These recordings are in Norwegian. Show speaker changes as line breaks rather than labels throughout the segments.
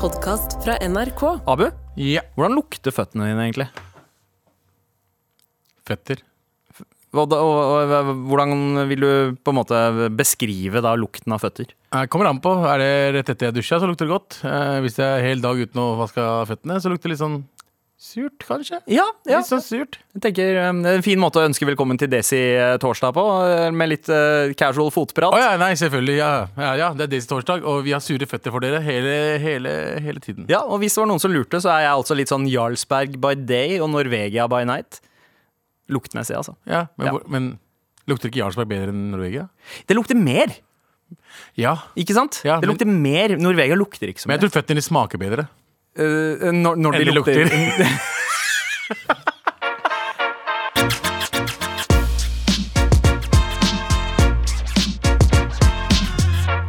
podkast fra NRK.
Abu,
Ja.
hvordan lukter føttene dine egentlig?
Føtter.
Hva da- og- og- og- Hvordan vil du på en måte beskrive da lukten av føtter?
Eh, Kommer an på. Er det rett etter jeg dusja, så lukter det godt. Eh, hvis det er hel dag uten å vaske føttene, så lukter det litt sånn surt, kanskje.
Ja,
Litt sånn surt.
Jeg tenker um, det er En fin måte å ønske velkommen til Desi eh, torsdag på, eh, med litt eh, casual fotprat.
Å ja, nei, selvfølgelig. Ja, ja, ja det er Daisy torsdag, og vi har sure føtter for dere hele, hele, hele tiden.
Ja, og hvis det var noen som lurte, så er jeg altså litt sånn Jarlsberg by day og Norvegia by night. Luktmessig, altså.
Ja, men,
Ja.
Hvor, men lukter ikke Jarlsberg bedre enn Norvegia?
Det lukter mer,
Ja.
ikke sant?
Ja,
det
men-
lukter mer. Norvegia lukter ikke så
Men
mye.
jeg tror føttene smaker bedre.
Eh, når, når de
Eller
lukter.
lukter.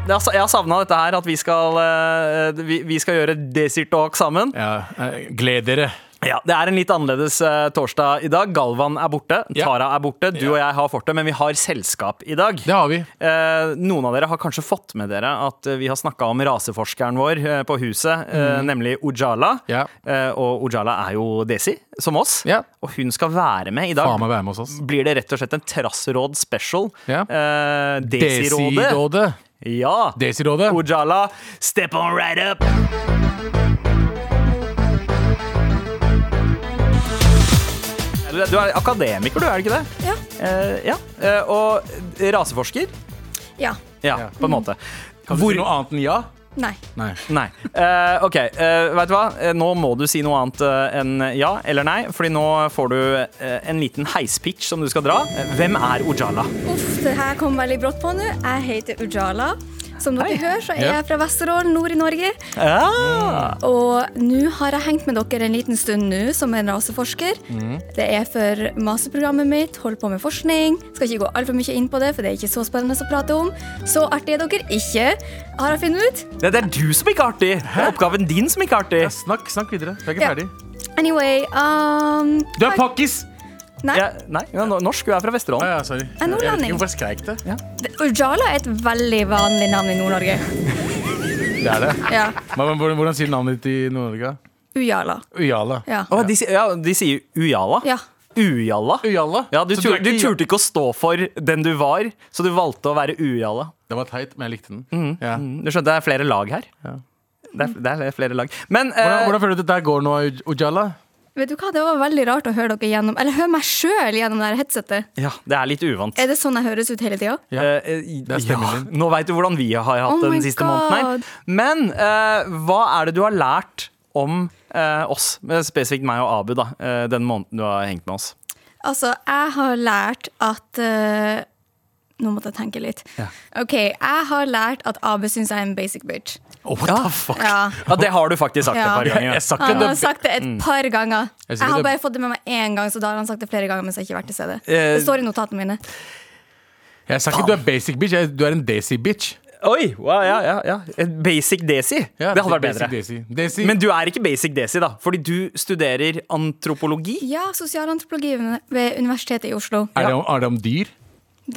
Det har- Jeg har savna dette her, at vi skal, eh, vi, vi skal gjøre Desert Talk sammen.
Ja, eh, Gled dere.
Ja, Det er en litt annerledes eh, torsdag i dag. Galvan er borte,
Ja.
Tara er borte, du
Ja.
og jeg har fortet, men vi har selskap i dag.
Det har vi.
Eh, noen av dere har kanskje fått med dere at eh, vi har snakka om raseforskeren vår eh, på huset, eh, nemlig Ojala.
Mm. Ja.
Eh, og Ojala er jo Desi, som oss.
Ja.
Og hun skal være med i dag.
Faen meg være med hos oss.
Blir det rett og slett en trassråd special?
Ja.
Eh, Desi-rådet.
Desi-rådet.
Ja.
Desi-rådet.
Ojala, step on right up! Du er- Du er akademiker, du, er det ikke det?
Ja.
Eh, ja. Eh, og raseforsker.
Ja.
Ja,
Ja.
på en måte.
Kan du si noe annet enn ja?
Nei.
Nei.
Nei. Eh, ok, eh, vet du hva? Eh, Nå må du si noe annet eh, enn ja eller nei, fordi nå får du eh, en liten heispitch som du skal dra. Eh, Hvem er Ojala?
Uff, det her kom veldig brått på nå. Jeg heter Ujala. Som dere hører, så er
Ja.
jeg fra Vesterålen, nord i Norge.
Ah!
Og nå har jeg hengt med dere en liten stund nå som en raseforsker.
Mm.
Det er for masterprogrammet mitt, holder på med forskning. Skal ikke gå altfor mye inn på det, for det er ikke så spennende å prate om. Så artig er dere ikke, har jeg funnet ut.
Det det er du som ikke er artig! Det er oppgaven din som ikke er artig.
Ja, Snakk, snakk videre. Vi er ikke
Ja.
ferdig.
Anyway um,
Du er pakkis!
Nei,
Ja, nei, ja, no- norsk. Du er fra
Å
Vesterålen.
Ah, ja, sorry.
er
Jeg vet ikke
nordlending.
hvorfor jeg skreik det.
Ujala er et veldig vanlig navn i Nord-Norge.
Det er det.
Ja.
Men hvordan, hvordan sier navnet ditt i Nord-Norge?
Ujala.
Ujala.
Ja.
Å, de, sier- ja, de sier Ujala.
Ja.
Ujala.
Ujala?
Ja, du,
Så
tur,
er
du
ikke-
turte ikke å stå for den du var, så du valgte å være Ujala.
Det var teit, men jeg likte den. Ja.
Mm, Du skjønte, det er flere lag her. Det, er, det er flere lag. Men eh,
Hvordan, hvordan føler du at dette går nå, Uj- Ujala?
Vet du hva, Det var veldig rart å høre dere gjennom Eller høre meg sjøl gjennom det her headsetet.
ja, det er litt uvant.
Er det sånn jeg høres ut hele tida?
Ja.
Eh, eh, i-
Det er stemmen
ja,
din.
Nå veit du hvordan vi har hatt
Oh
det
my
den siste måneden
God.
her. Men eh, hva er det du har lært om eh, oss, eh, spesifikt meg og Abu, da, eh, den måneden du har hengt med oss?
Altså, jeg har lært at eh, Nå måtte jeg tenke litt. OK, jeg har lært at Abu syns jeg er en basic bitch.
Oh, what the fuck?
Ja.
Ja, det har du faktisk sagt
Ja. altså-
et par ganger.
Jeg sa ikke
Han
det. mm.
har sagt det et par ganger.
Jeg
Jeg
sier
har
det-
bare fått det med meg én gang, så da har han sagt det flere ganger. mens jeg ikke har vært til stede
Eh.
Det står i notatene mine.
Jeg sa ikke du er basic bitch, jeg, du er en desi bitch.
Oi, wow, ja, ja, ja. Et Basic Desi.
Ja,
det hadde vært
basic
bedre.
Desi. Desi.
Men du er ikke basic Desi, da, fordi du studerer antropologi.
Ja, sosialantropologi ved Universitetet i Oslo.
er, det om, er det om dyr?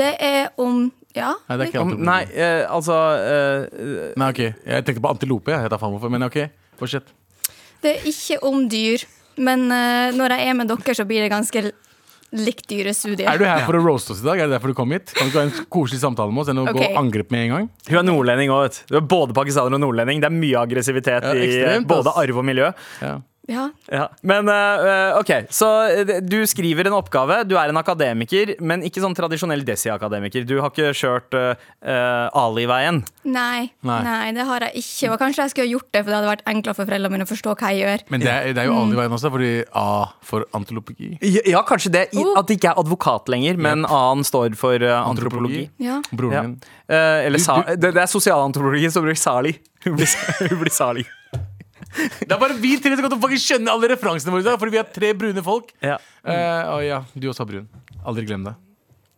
Det er om Ja.
Nei, det er ikke
Om,
antilope.
nei, eh, altså eh,
Nei, ok. Jeg tenkte på antilope, jeg. jeg tar faen hvorfor. Men ok, fortsett.
Det er ikke om dyr, men eh, når jeg er med dere, så blir det ganske l- likt dyre studier.
Er du her for å roaste oss i dag? Er det derfor du kom hit? Kan du ikke ha en koselig samtale med oss enn å gå
Ok.
og angripe med en gang?
Hun er nordlending òg, vet du. Du er både pakistaner og nordlending. Det er mye aggressivitet
Ja,
i eh,
ekstremt,
både
ass.
arv og miljø.
Ja.
Ja.
Ja. Men eh, ok, så eh, du skriver en oppgave. Du er en akademiker, men ikke sånn tradisjonell Desi-akademiker. Du har ikke kjørt eh, eh, Ali-veien.
Nei,
Nei.
nei. det har jeg ikke. Og kanskje jeg skulle ha gjort det, for det hadde vært enklere for foreldrene mine å forstå hva jeg gjør.
Men det er, det er jo alle i veien også, fordi A for antilopegi.
Ja, ja, kanskje det. I,
Oh.
At det ikke er advokat lenger, men A-en står for eh, antropologi.
Ja.
Broren
Ja.
min.
Eh, eller sa,
Du-
det, det er sosialantropologien som blir Sali. Hun blir, hun blir Sali.
Det er bare vi tre som kan faktisk skjønne alle referansene våre, i dag, fordi vi er tre brune folk.
Ja.
Eh, og ja, du også er brun. Aldri glem det.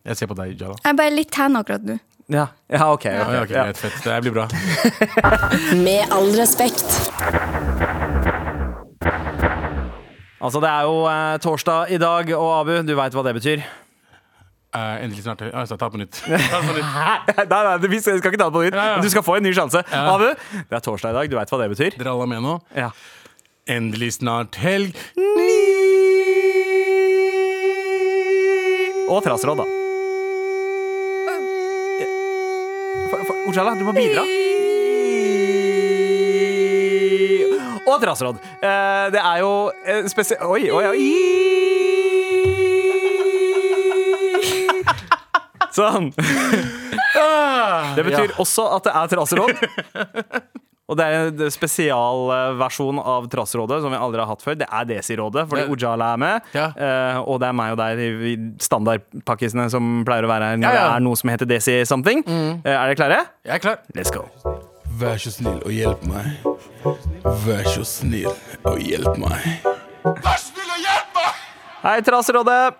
Jeg ser på deg, Jala.
Jeg er bare litt tan akkurat nå.
Ja, ja ok. ok,
Ja, ok,
ja.
greit, fett. Det her blir bra. Eh,
Med all respekt.
Altså, det er jo eh, torsdag i dag, og Abu, du veit hva det betyr.
eh, endelig snart Ja, altså, ta det på nytt. Ta det på nytt.
Nei, nei, vi skal, skal ikke ta det på nytt,
ja.
men du skal få en ny sjanse. Abu, det er torsdag i dag, du veit hva det betyr?
Dere alle er med nå?
Ja.
Endelig snart helg.
Og trassråd, da. For- for- Ojala, du må bidra. Og trassråd. Eh, Det er jo eh, spesielt Oi, oi, oi. Sånn. Det betyr også at det er traseråd. Og det er en spesialversjon av Traserådet som vi aldri har hatt før. Det er Desi-rådet, fordi
Det-
Ojala er med.
Ja.
eh, og det er meg og deg, i standardpakkisene som pleier å være her når
Ja, Mm. ja.
det er noe som heter Desi-something. Eh, er dere klare?
Jeg er klar.
Let's go.
Vær så snill og hjelp meg. Vær så snill og hjelp meg.
Hei, Traserådet.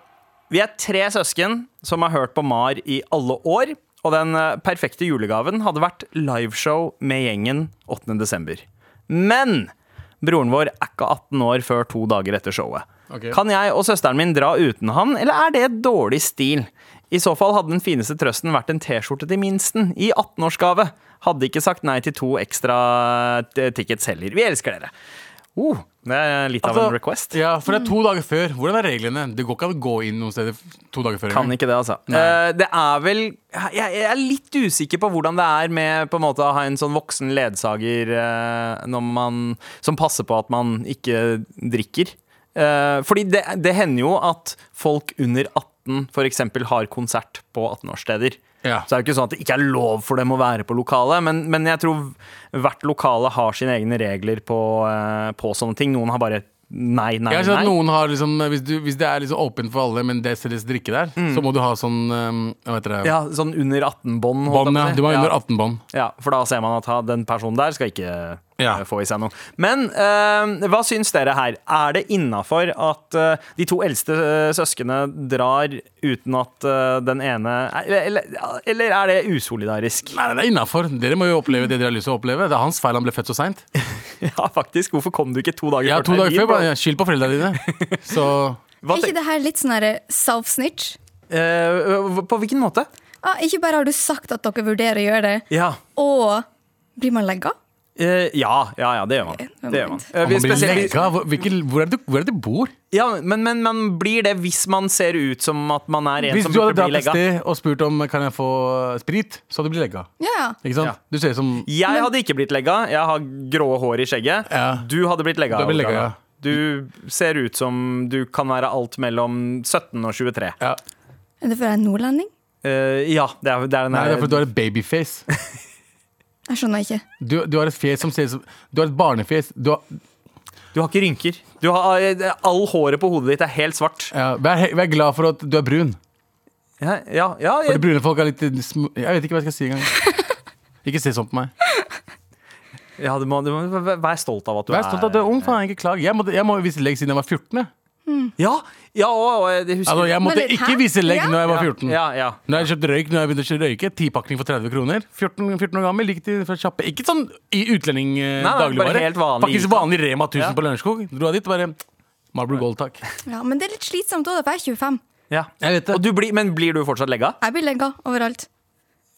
Vi er tre søsken som har hørt på Mar i alle år. Og den eh, perfekte julegaven hadde vært liveshow med gjengen 8. desember. Men broren vår er ikke 18 år før to dager etter showet.
Ok.
Kan jeg og søsteren min dra uten han, eller er det dårlig stil? I så fall hadde den fineste trøsten vært en T-skjorte til minsten i 18-årsgave. Hadde ikke sagt nei til to ekstra eh, tickets heller. Vi elsker dere. Oh, det er litt av en request.
Altså, Ja, for det er to dager før. Hvordan er reglene? Det går ikke an å gå inn noen steder to dager før.
Kan ikke det, altså. Eh, det er vel jeg, jeg er litt usikker på hvordan det er med på en måte, å ha en sånn voksen ledsager eh, når man, som passer på at man ikke drikker. Eh, fordi det, det hender jo at folk under 18 f.eks. har konsert på 18-årssteder.
Ja.
Så det er jo ikke sånn at det ikke er lov for dem å være på lokalet, men, men jeg tror hvert lokale har sine egne regler på, eh, på sånne ting. Noen har bare nei, nei,
Jeg ser at
nei.
noen har liksom, hvis, du, hvis det er liksom åpent for alle, men det selges drikke der, så må du ha sånn um, Hva heter det?
Mm. Ja, sånn under 18-bånd. holdt jeg på å
Bånd, ja.
si.
Du må ha
Ja.
under 18 bånd.
Ja, for da ser man at ha, den personen der skal ikke
Ja.
eh, få i seg noe. Men eh, hva syns dere her? Er det innafor at eh, de to eldste uh, søsknene drar uten at eh, den ene eller, eller, eller er det usolidarisk?
Nei, nei, det er innafor. Dere må jo oppleve det dere har lyst til å oppleve. Det er hans feil han ble født så seint.
Ja, faktisk. Hvorfor kom du ikke to dager
Ja, to
til
dager
din,
før.
bro?
Bare, ja, skyld på foreldra dine. Så
Hva
Er
tenk-
ikke det her litt sånn derre self-snitch?
Eh, på hvilken måte?
Ah, ikke bare har du sagt at dere vurderer å gjøre det,
Ja.
og blir man legga?
Eh, ja, ja, ja, det gjør man. Det gjør man. Eh,
om
vi
man blir
spesielt-
legga. Hvor, hvilken, hvor, er det, du- hvor er det du bor?
ja, men, men man blir det hvis man ser ut som at man er en
Hvis
som
du hadde
burde bli
dratt et
legga.
sted og spurt om kan jeg få sprit, så hadde du blitt legga.
Ja.
Ikke sant?
Ja.
Du ser ut som
Jeg hadde ikke blitt legga. Jeg har grå hår i skjegget.
Ja.
Du hadde blitt legga.
Du hadde blitt legga,
Ola.
ja.
Du ser ut som du kan være alt mellom 17 og 23.
ja.
Er det fordi jeg er nordlending?
Eh, ja, det er, det er den
Nei, det er fordi du
der
har et babyface.
Jeg skjønner ikke.
Du, du har et fjes som ser ut som Du har et barnefjes. Du har,
Du har ikke rynker. Du har, eh, all håret på hodet ditt er helt svart.
ja, vær, he- vær glad for at du er brun.
Ja, ja, ja,
For
jeg,
brune folk er litt sm Jeg vet ikke hva jeg skal si engang. Ikke se sånn på meg.
ja du må, du må være stolt av at du
Vær stolt av at du er ung, faen. Ikke klag. Jeg måtte, jeg må vise legg siden jeg var 14. Jeg,
Ja, ja og, og jeg husker
altså, jeg måtte
litt, hæ?
ikke vise legg
Ja.
når jeg var 14.
Ja, ja.
Når jeg kjøpte røyk, når jeg begynte å kjøpe røyke, tipakning for 30 kroner. 14, 14 år gammel, gikk til fra kjappe. Ikke sånn i utlending eh,
Nei, nei, bare
dagligvare.
helt vanlig.
Faktisk vanlig Rema 1000
Ja.
på Lørenskog. Dro jeg dit, bare Marble Gold, takk.
Ja, men det er litt slitsomt òg, for jeg er 25.
ja.
Jeg vet det.
Og du blir, men blir du fortsatt legga?
Jeg blir legga overalt.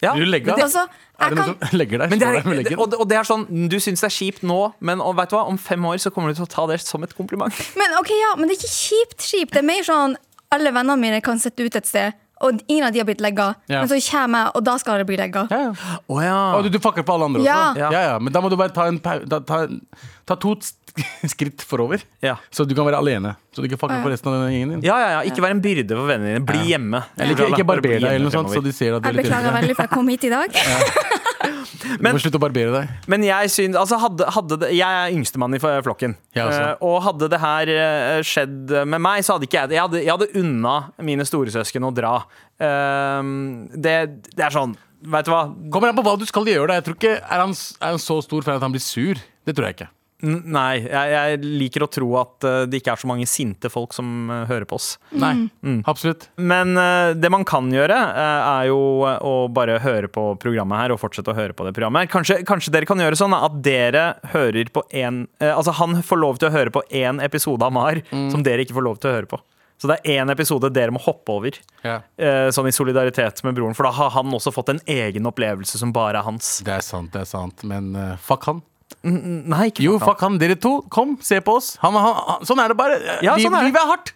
Ja.
Blir du legga?
Men det-
Altså,
Er
jeg
det
kan
noen som legger deg?
Men det
Står der med
er,
leggen?
og, og det er sånn, du syns det er kjipt nå, men og, vet du hva, om fem år så kommer du til å ta det som et kompliment.
Men ok, ja, men det er ikke kjipt kjipt. Det er mer sånn alle vennene mine kan sette ut et sted, og ingen av de har blitt legga.
Ja.
Men så kommer jeg, og da skal det bli legga.
Ja, ja.
Oh, ja.
Å, du, du fucker på alle andre
Ja.
også? Ja, ja. Men da må du bare ta, en, pau- ta, ta, ta to sk- skritt forover,
Ja.
så du kan være alene. Så du ikke fucker på resten av den gjengen din.
Ja, ja, ja. Ikke vær en byrde for vennene dine. Bli hjemme.
Eller ikke, ikke barber
Bli
deg,
hjemme
eller noe sånt,
fremover.
så de ser at du er
Jeg
litt
beklager
eldre.
veldig for jeg kom hit i dag.
Du må slutte å barbere deg.
Men jeg syns Altså, hadde, hadde det, jeg er yngstemann i flokken.
Jeg også.
Eh, og hadde det her eh, skjedd med meg, så hadde ikke jeg det. Jeg hadde, jeg hadde unna mine storesøsken å dra. Eh, det, det er sånn Veit du hva?
Kommer an på hva du skal gjøre. da Jeg tror ikke, er, han, s- er han så stor fan at han blir sur? Det tror jeg ikke.
N nei, jeg, jeg liker å tro at eh, det ikke er så mange sinte folk som eh, hører på oss.
Nei, absolutt
Men eh, det man kan gjøre, eh, er jo å bare høre på programmet her og fortsette å høre på det programmet. Kanskje, kanskje dere kan gjøre sånn at dere eh,
Mm.
hører på én Altså, han får lov til å høre på én episode av Mar som dere ikke får lov til å høre på. Så det er én episode dere må hoppe over,
Ja.
eh, sånn i solidaritet med broren. For da har han også fått en egen opplevelse som bare er hans.
Det er sant, det er sant. Men eh, fuck han.
Nei, ikke
Jo,
fuck han.
fuck han. Dere to, kom, se på oss. Han, han, han, sånn er det bare. Eh,
Ja,
Liv-
sånn er det.
Livet er hardt.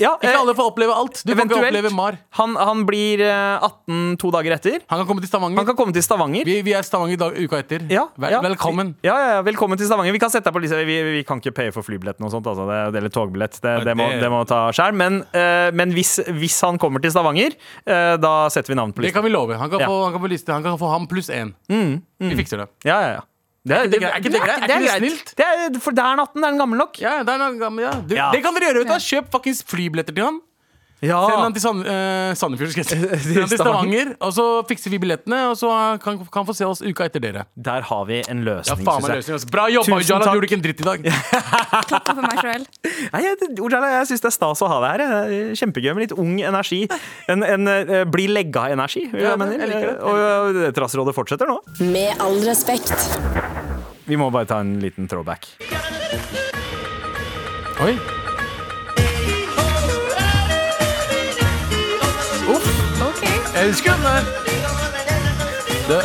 Ja,
Ikke
eh,
alle får oppleve alt. Du kan ikke
eventuelt.
oppleve Mar.
Han, han blir eh, 18 to dager etter.
Han kan komme til
Han
Stavanger.
kan komme til Stavanger.
Vi, vi er i Stavanger dag, uka etter.
Ja,
Vel,
ja.
Velkommen.
Ja, ja, ja, velkommen til Stavanger. Vi kan sette deg på lista. Vi, vi, vi kan ikke paye for flybilletten og sånt, altså. Det, det, eller togbillett. Det,
Nei,
det, må,
det-
det må ta skjær. Men, eh, men hvis, hvis han kommer til Stavanger, eh, da setter vi navn på
Det
lista.
kan vi love. Han kan,
Ja.
få, han kan, få, liste. Han kan få ham pluss én. Vi fikser det.
Ja, ja, ja. Det
Er ikke det greit? Er ikke det greit? Er ikke det snilt?
Det er, for da er han 18, da er han gammel nok.
Ja, det, er noe gammel, ja. Du,
Ja.
det kan dere gjøre. Vet du. Kjøp fuckings flybilletter til han.
Ja.
Send han til Sand, eh, Sandefjord, skal jeg si. Send han til
Ah. Stavanger.
Stavanger, og så fikser vi billettene. Og så kan han få se oss uka etter dere.
Der har vi en
Ja,
løsning,
faen meg
synes jeg.
løsning. ass. Bra jobba,
Tusen
Ujala.
takk.
Du gjorde ikke en dritt i dag.
Klapper for meg sjøl.
Nei, jeg, Ojala, jeg syns det er stas å ha deg her. Det er Kjempegøy med litt ung energi. En, en eh, bli legga-energi.
Ja,
jeg mener.
jeg liker det.
Og eh, Trassrådet fortsetter nå.
Med all respekt.
Vi må bare ta en liten throwback.
Oi. Jeg elsker den der. Det.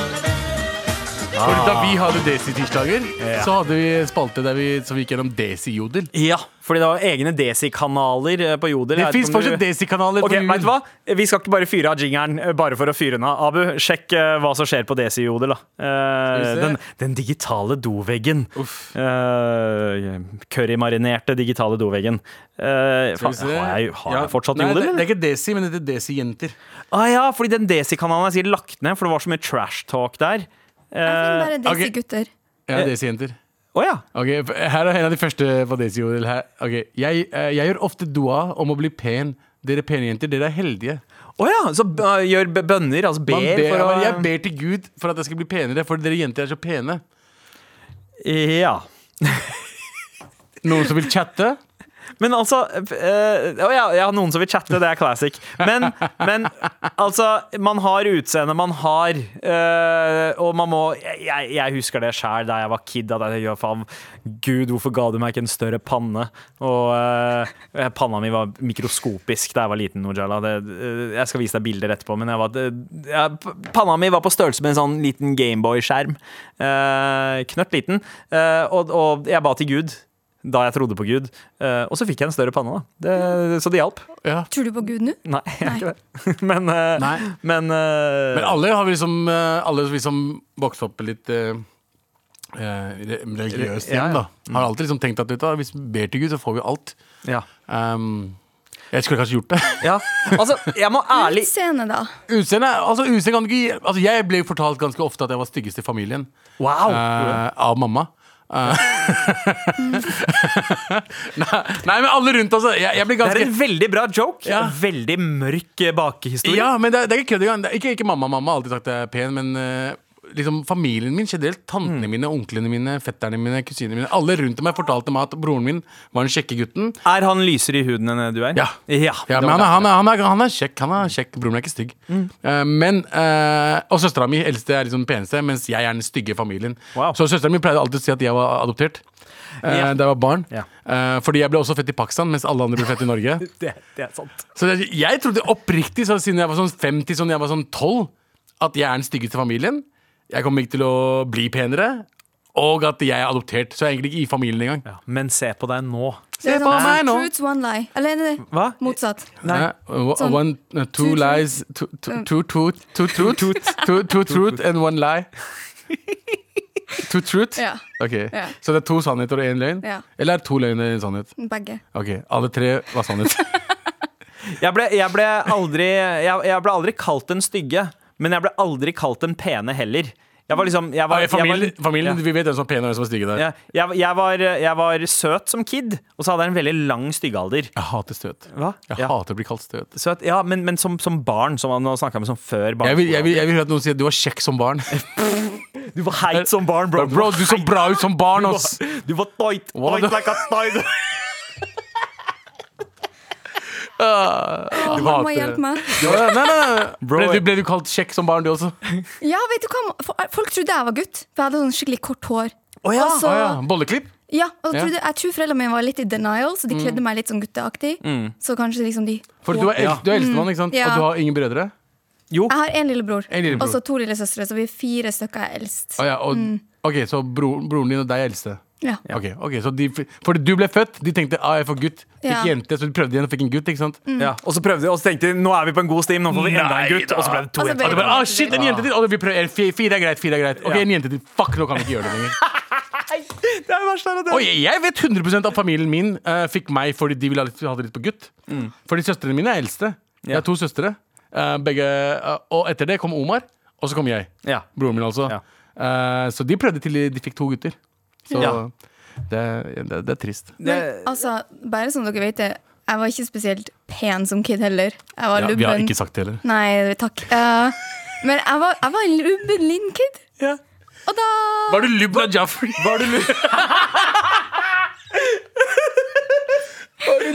Fordi da vi hadde Desi-tirsdager,
Ah. Ja.
så hadde vi en spalte der vi, som gikk gjennom Desi-jodel.
Ja, fordi det var egne Desi-kanaler eh, på Jodel.
Det
Jeg vet
fins
ikke om
fortsatt
du-
Desi-kanaler. på
Ok,
jodel.
vet du hva? Vi skal ikke bare fyre av jingeren eh, bare for å fyre den av. Abu, sjekk eh, hva som skjer på Desi-Jodel. da. Eh,
Skal vi se?
den, den digitale doveggen.
Uff.
Eh, Currymarinerte digitale doveggen. Eh,
Skal
faen,
vi se.
har jeg, har
Ja.
jeg fortsatt
Nei,
Jodel,
det,
eller?
det er ikke Desi, men det er Desi-jenter.
ah, ja, fordi den Desi-kanalen er sikkert lagt ned, for det var så mye trash talk der.
Jeg finner
Eh,
bare disse gutter.
Ja, Desi-jenter.
Å ja.
Ok, f- Her er en av de første på Desi-jodel. her. Ok, jeg, eh, jeg gjør ofte dua om å bli pen. Dere pene jenter, dere er heldige.
Å ja, så eh, gjør b- bønner, altså ber,
Man ber,
for å
Jeg ber til Gud for at jeg skal bli penere, for dere jenter er så pene.
Ja.
Noen som vil chatte?
Men altså eh, Å ja, ja, noen som vil chatte, det er classic. Men, men altså, man har utseende man har, eh, og man må Jeg, jeg husker det sjæl da jeg var kid. At jeg gjør faen Gud, hvorfor ga du meg ikke en større panne? Og eh, panna mi var mikroskopisk da jeg var liten, Nojala. Det, eh, jeg skal vise deg bilder etterpå, men jeg var, det, jeg- p- panna mi var på størrelse med en sånn liten Gameboy-skjerm. Uh, knørt liten. Eh, og, og jeg ba til Gud da jeg trodde på Gud. Eh, og så fikk jeg en større panne, da. Det, så det hjalp.
Ja.
Tror du på Gud nå?
Nei, jeg gjør ikke det. Men, eh,
Nei.
men, eh,
Men alle har vi liksom eh, Alle vi som vokste opp i litt eh, eh, re- religiøst
Ja, Mm. ja.
hjem, da, har alltid liksom tenkt at vet du, hva, hvis vi ber til Gud, så får vi alt.
ja.
Um, jeg skulle kanskje gjort det.
ja. Altså, jeg må ærlig
Utseende, da.
Utseende altså, utseende kan du ikke gi altså, Jeg ble jo fortalt ganske ofte at jeg var styggest i familien.
Wow!
eh, av mamma. Eh, nei, nei, men alle rundt, altså. Jeg, jeg ble
det er
ganske
en veldig bra joke.
Ja.
Veldig mørk eh, bakhistorie.
Ja, men det, er- det er ikke kødd engang. Det er Ikke, ikke mamma. Mamma har alltid sagt jeg er pen, men eh, liksom familien min generelt, tantene
Mm.
mine, onklene mine, fetterne mine, kusinene mine, alle rundt meg fortalte meg at broren min var den kjekke gutten.
Er han lysere i huden enn eh, du er?
Ja.
ja,
Ja,
det
men
var Mm.
han er,
det.
han, er, han, er, han er kjekk. Han er kjekk, Broren min er ikke stygg. Eh, men, eh, og søstera mi eldste er liksom peneste, mens jeg er den stygge i familien.
Wow.
Så søstera mi pleide alltid å si at jeg var adoptert eh,
Ja.
da jeg var barn.
Ja.
Eh, fordi jeg ble også født i Pakistan, mens alle andre ble født i Norge.
Det, det er sant.
Så jeg, jeg trodde oppriktig så siden jeg var sånn 50, sånn jeg var sånn 12, at jeg er den styggeste i familien. Jeg kommer ikke til å bli penere. Og at jeg er adoptert. Så jeg er egentlig ikke i familien engang.
Ja. Men se på deg nå.
Det er
på
sånn
meg nå.
Two truths, one lie. Eller er det det?
Hva?
motsatt.
Nei.
Eh, o-
Sånn.
One, eh, two
Two Eh.
lies, two, two, two, two, two truth, two, two truth and one lie. Two truth?
Ja.
Ok,
Ja.
Så det er to sannheter og én løgn?
Ja.
Eller er det to løgner og én sannhet?
Begge.
Ok, Alle tre var sannhet.
Jeg ble, jeg ble aldri jeg, jeg ble aldri kalt den stygge, men jeg ble aldri kalt den pene heller. Jeg var liksom jeg var,
Ah, i
jeg var-
familien, familien
Ja.
Vi vet hvem som er pen og hvem som er stygge der.
Ja, jeg, jeg, var, jeg var søt som kid, og så hadde jeg en veldig lang styggealder.
Jeg hater støt.
Hva?
Jeg
Ja.
hater å bli kalt støt.
Søt, ja, men, men som, som barn, som nå snakker jeg med som før barn.
Jeg vil, jeg, vil, jeg vil høre at noen sier at du var kjekk som barn.
Du var heit som barn, bro.
Bro, du så bra ut som barn,
Du
ass!
var, du var tight,
What
tight
the-
like a tiger.
Du
Mamma, hjelp meg.
Ja, nei, nei, nei.
Bro,
ble,
jeg-
du, ble du kalt kjekk som barn, du også?
Ja, vet du hva? Folk trodde jeg var gutt, for jeg hadde sånn skikkelig kort hår.
Å ja.
Og
Å
så-
ja. Bolleklipp?
Ja, og jeg
Ja. Mm.
trodde, jeg tror foreldrene mine var litt i denial, så de kledde meg litt sånn gutteaktig. Så kanskje liksom de
For du er,
Ja.
el- du er eldstemann, ikke sant?
Mm. Ja.
Og du har ingen brødre?
Jo.
Jeg har én lillebror,
En lillebror.
og så to lillesøstre, så vi er fire stykker jeg er eldst.
Å ja, og,
Mm.
Ok, Så bro, broren din og deg er eldste?
Ja.
Ok, ok, så de, Fordi du ble født, de tenkte ah, jeg får gutt, fikk
Ja. Mm.
jente, så de prøvde igjen og fikk en gutt. ikke sant?
Ja, og så prøvde de, og så tenkte de nå er vi på en god stim, nå får vi enda en
Nei
gutt.
da.
Og så ble det to.
Og så
jenter.
ble
Og det bare, ah, shit, en jente til! Og vi prøver, fi- fire er greit, fire er greit. Ok,
Ja.
en jente til. Fuck, nå kan vi ikke gjøre det lenger.
Det er det verste her at det-
Og jeg, jeg vet 100 at familien min eh, fikk meg fordi de ville ha, litt, ha det litt på gutt. Fordi søstrene mine er eldste.
Mm.
Jeg
Ja.
har to søstre. Eh, begge, eh, og etter det kom Omar, og så kom jeg.
Ja.
Broren min, altså.
Ja.
Eh, så de prøvde til de, de fikk to gutter. Så
Ja.
det, det, det er trist.
Det-
Men altså, bare som dere vet det, jeg var ikke spesielt pen som kid heller. Jeg var
Ja, vi har
lubben.
ikke sagt det heller.
Nei, takk. Eh, men jeg var, jeg var en lubben liten kid.
Ja.
Og da
Var du lubben av Jaffrey? Var du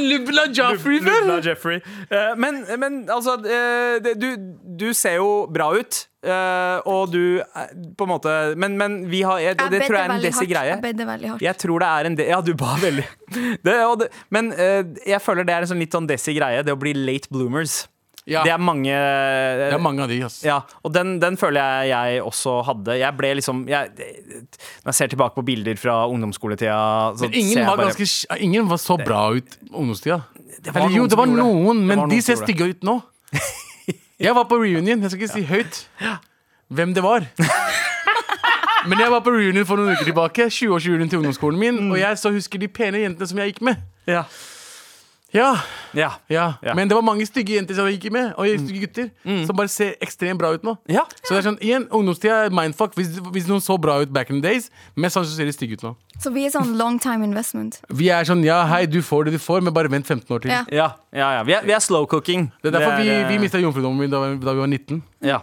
lubben av Jaffrey før?
Lubna Jeffrey. Eh, men, men altså eh, det, du, du ser jo bra ut. eh, og du eh, på en måte Men, men vi har jeg, Det
bedde
tror jeg er en
veldig
desi
hardt.
greie.
Jeg bedde veldig hardt.
Jeg tror det er en de Ja, du ba veldig. Det, og det, men eh, jeg føler det er en sånn litt sånn desi greie, det å bli late bloomers.
Ja,
Det er mange eh,
det er mange av de, ass.
Ja, og den, den føler jeg jeg også hadde. Jeg ble liksom jeg, Når jeg ser tilbake på bilder fra ungdomsskoletida så
Men ingen
ser jeg
var,
bare-
ganske, sj- ingen var så bra ut ungdomstida.
var
Eller jo,
noen
det var
som gjorde det.
noen,
Det
men
var
de
noen som
ser
gjorde
stygge ut nå. Jeg var på reunion, jeg skal ikke si høyt hvem det var. Men jeg var på reunion for noen uker tilbake, 20-årsjulen til ungdomsskolen min,
Mm.
og jeg så husker de pene jentene som jeg gikk med.
ja.
Ja,
Ja.
ja.
Ja. Mm.
Men det var mange stygge jenter som jeg gikk med, og stygge gutter, som bare ser ekstremt bra ut nå.
ja.
Så det er sånn, igjen, ungdomstida er mindfuck. Hvis, hvis noen så bra ut back in the days, mest sannsynlig ser de stygge ut nå.
Så vi er sånn long time investment.
Vi er sånn ja, hei, du får det du får, men bare vent 15 år til.
Ja.
Ja, ja, ja. Vi, er, vi er slow cooking.
Det er derfor
Det er,
vi,
eh,
vi mista jomfrudommen min da, da vi var 19.
Ja,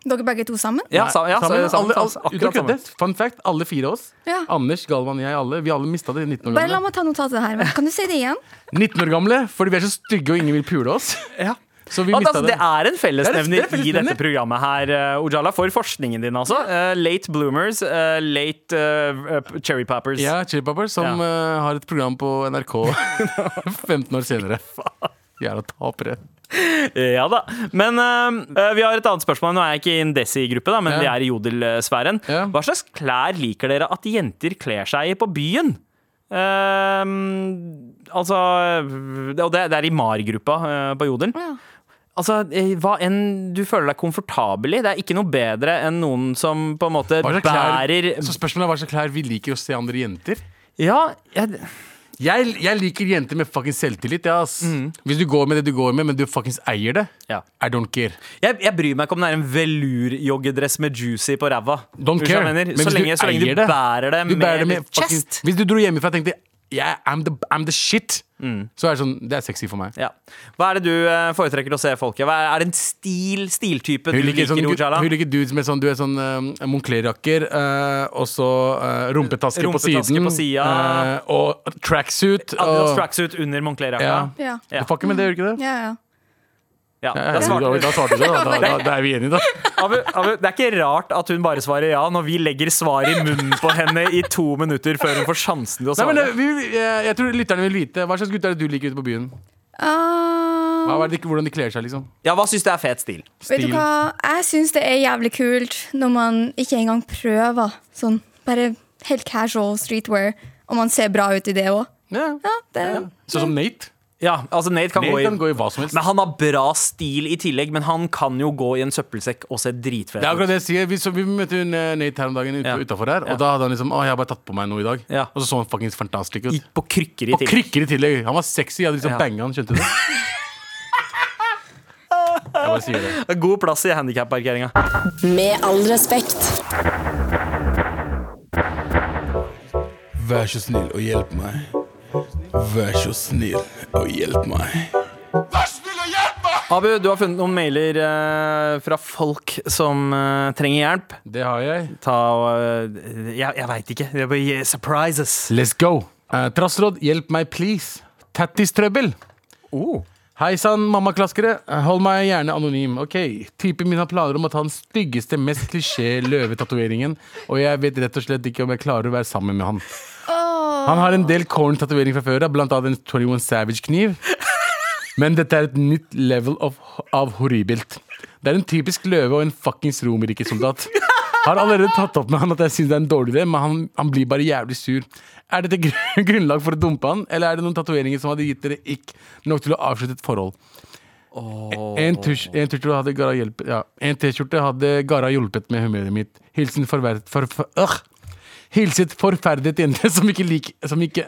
Dere begge to sammen?
ja, sa, ja sa-
Sammen,
sammen,
alle,
sammen,
alle, uten å
akkurat
kødde.
sammen.
Fun fact, alle fire av oss.
Ja.
Anders, Galvan, jeg, alle. Vi alle mista det 19 år
Bare la
gamle.
meg ta notatet her. Men kan du si det igjen?
19 år gamle, Fordi vi er så stygge og ingen vil pule oss.
Ja.
Så vi
At,
mista
altså, det
det.
er en
Det er-
fellesnevner
det er
i
fellesnevner.
dette programmet her, eh, Ojala, for forskningen din altså. Eh, late bloomers, eh, late eh, p- cherry poppers.
Ja, Chili Peppers, som
Ja.
eh, har et program på NRK 15 år senere. Jævla tapere.
Ja da. Men eh, eh, vi har et annet spørsmål. Nå er jeg ikke i en Desi-gruppe, da, men
Ja.
vi er i jodelsfæren.
Ja.
Hva slags klær liker dere at jenter kler seg i på byen? Ehm, altså Og det, det er i MAR-gruppa eh, på Jodel.
Ja.
Altså, eh, Hva enn du føler deg komfortabel i. Det er ikke noe bedre enn noen som på en måte
Hva slags klær,
bærer
så spørsmålet er hva slags klær vi liker å se andre jenter.
Ja, jeg,
Jeg, jeg liker jenter med fucking selvtillit. Ja, ass. Hvis du går med det du går med, men du fuckings eier det,
Mm. Ja.
I don't care.
jeg, jeg bryr meg ikke om det er en velurjoggedress med juicy på ræva.
Don't
Skjønner du hva jeg mener?
care. Men
Så
hvis du
lenge, så lenge
eier
du
det,
bærer det
Du
med,
bærer det med fucking-
chest.
Hvis du dro hjemmefra og tenkte yeah, I'm, the, I'm the shit, så er det sånn Det er sexy for meg.
Mm. Ja. Hva er det du eh, foretrekker å se folk i? Hva Er er det en stil, stiltype du
Hun liker,
liker,
sånn,
Ojala?
hun liker dudes med sånn, du er sånn eh, Moncler-jakker, eh, og så eh, rumpetaske, på
Rumpetaske
siden.
på sida.
eh, og tracksuit.
Adidas
og-
tracksuit under Moncler-jakka.
Ja.
Ja.
Du fucker med det, gjør du ikke det?
Ja, ja.
Ja,
Ja,
da
ja,
svarte
da,
du.
da svarte du, da. Da, da, da er vi enige, da.
Abu, Abu, det er ikke rart at hun bare svarer ja når vi legger svaret i munnen på henne i to minutter før hun får sjansen til å
Nei, men,
svare.
eh, vi, vil- eh, jeg tror lytterne vil vite hva slags gutter er det du liker ute på byen.
Ah,
Hva er det, hvordan de kler seg, liksom.
Ja, Hva syns du er fet stil?
vet
Stil.
du hva? Jeg syns det er jævlig kult når man ikke engang prøver. Sånn bare helt casual streetwear, og man ser bra ut i det òg.
Ja.
Ja, det
Sånn som Nate.
Ja, altså Nate kan,
Nate
gå, i,
kan gå i hva som helst.
Men han har bra stil i tillegg, men han kan jo gå i en søppelsekk og se dritfet
Det er
ut.
akkurat det jeg sier. Vi, så, vi møtte hun, eh, Nate her om dagen ut,
Ja.
utenfor her. Og
Ja.
da hadde han liksom Å, jeg har bare tatt på meg noe i dag.
Ja.
Og så så han fuckings fantastisk ut.
Gikk på krykker i
På
tillegg.
krykker i tillegg. Han var sexy. Jeg hadde
Ja.
liksom banga han, skjønte du det? Jeg bare sier det.
God plass i handikapparkeringa.
Med all respekt.
Vær så snill og hjelp meg. Vær så snill og hjelp meg.
Abu, du har funnet noen mailer eh, fra folk som eh, trenger hjelp.
Det har jeg.
Ta og eh, Jeg, jeg veit ikke. Det blir yeah, surprises.
Let's go. Eh, trassråd, hjelp meg, please. Tattistrøbbel. Hei sann, mammaklaskere. Eh, Hold meg gjerne anonym. Ok, Typen min har planer om å ta den styggeste, mest klisjé løvetatoveringen, og jeg vet rett og slett ikke om jeg klarer å være sammen med han. Han har en del corn-tatovering fra før av, blant annet en 21 Savage-kniv. Men dette er et nytt level of, av horribelt. Det er en typisk løve og en fuckings romerikesoldat. Har allerede tatt opp med han at jeg syns det er en dårlig idé, men han, han blir bare jævlig sur. Er dette gr- grunnlag for å dumpe han, eller er det noen tatoveringer som hadde gitt dere ikk nok til å avslutte et forhold? En tusj- en T-skjorte hadde Gara hjulpet ja, En T-skjorte hadde Gara hjulpet med humøret mitt. Hilsen forverret for, for, øh. Hilset forferdet jente som ikke liker Som ikke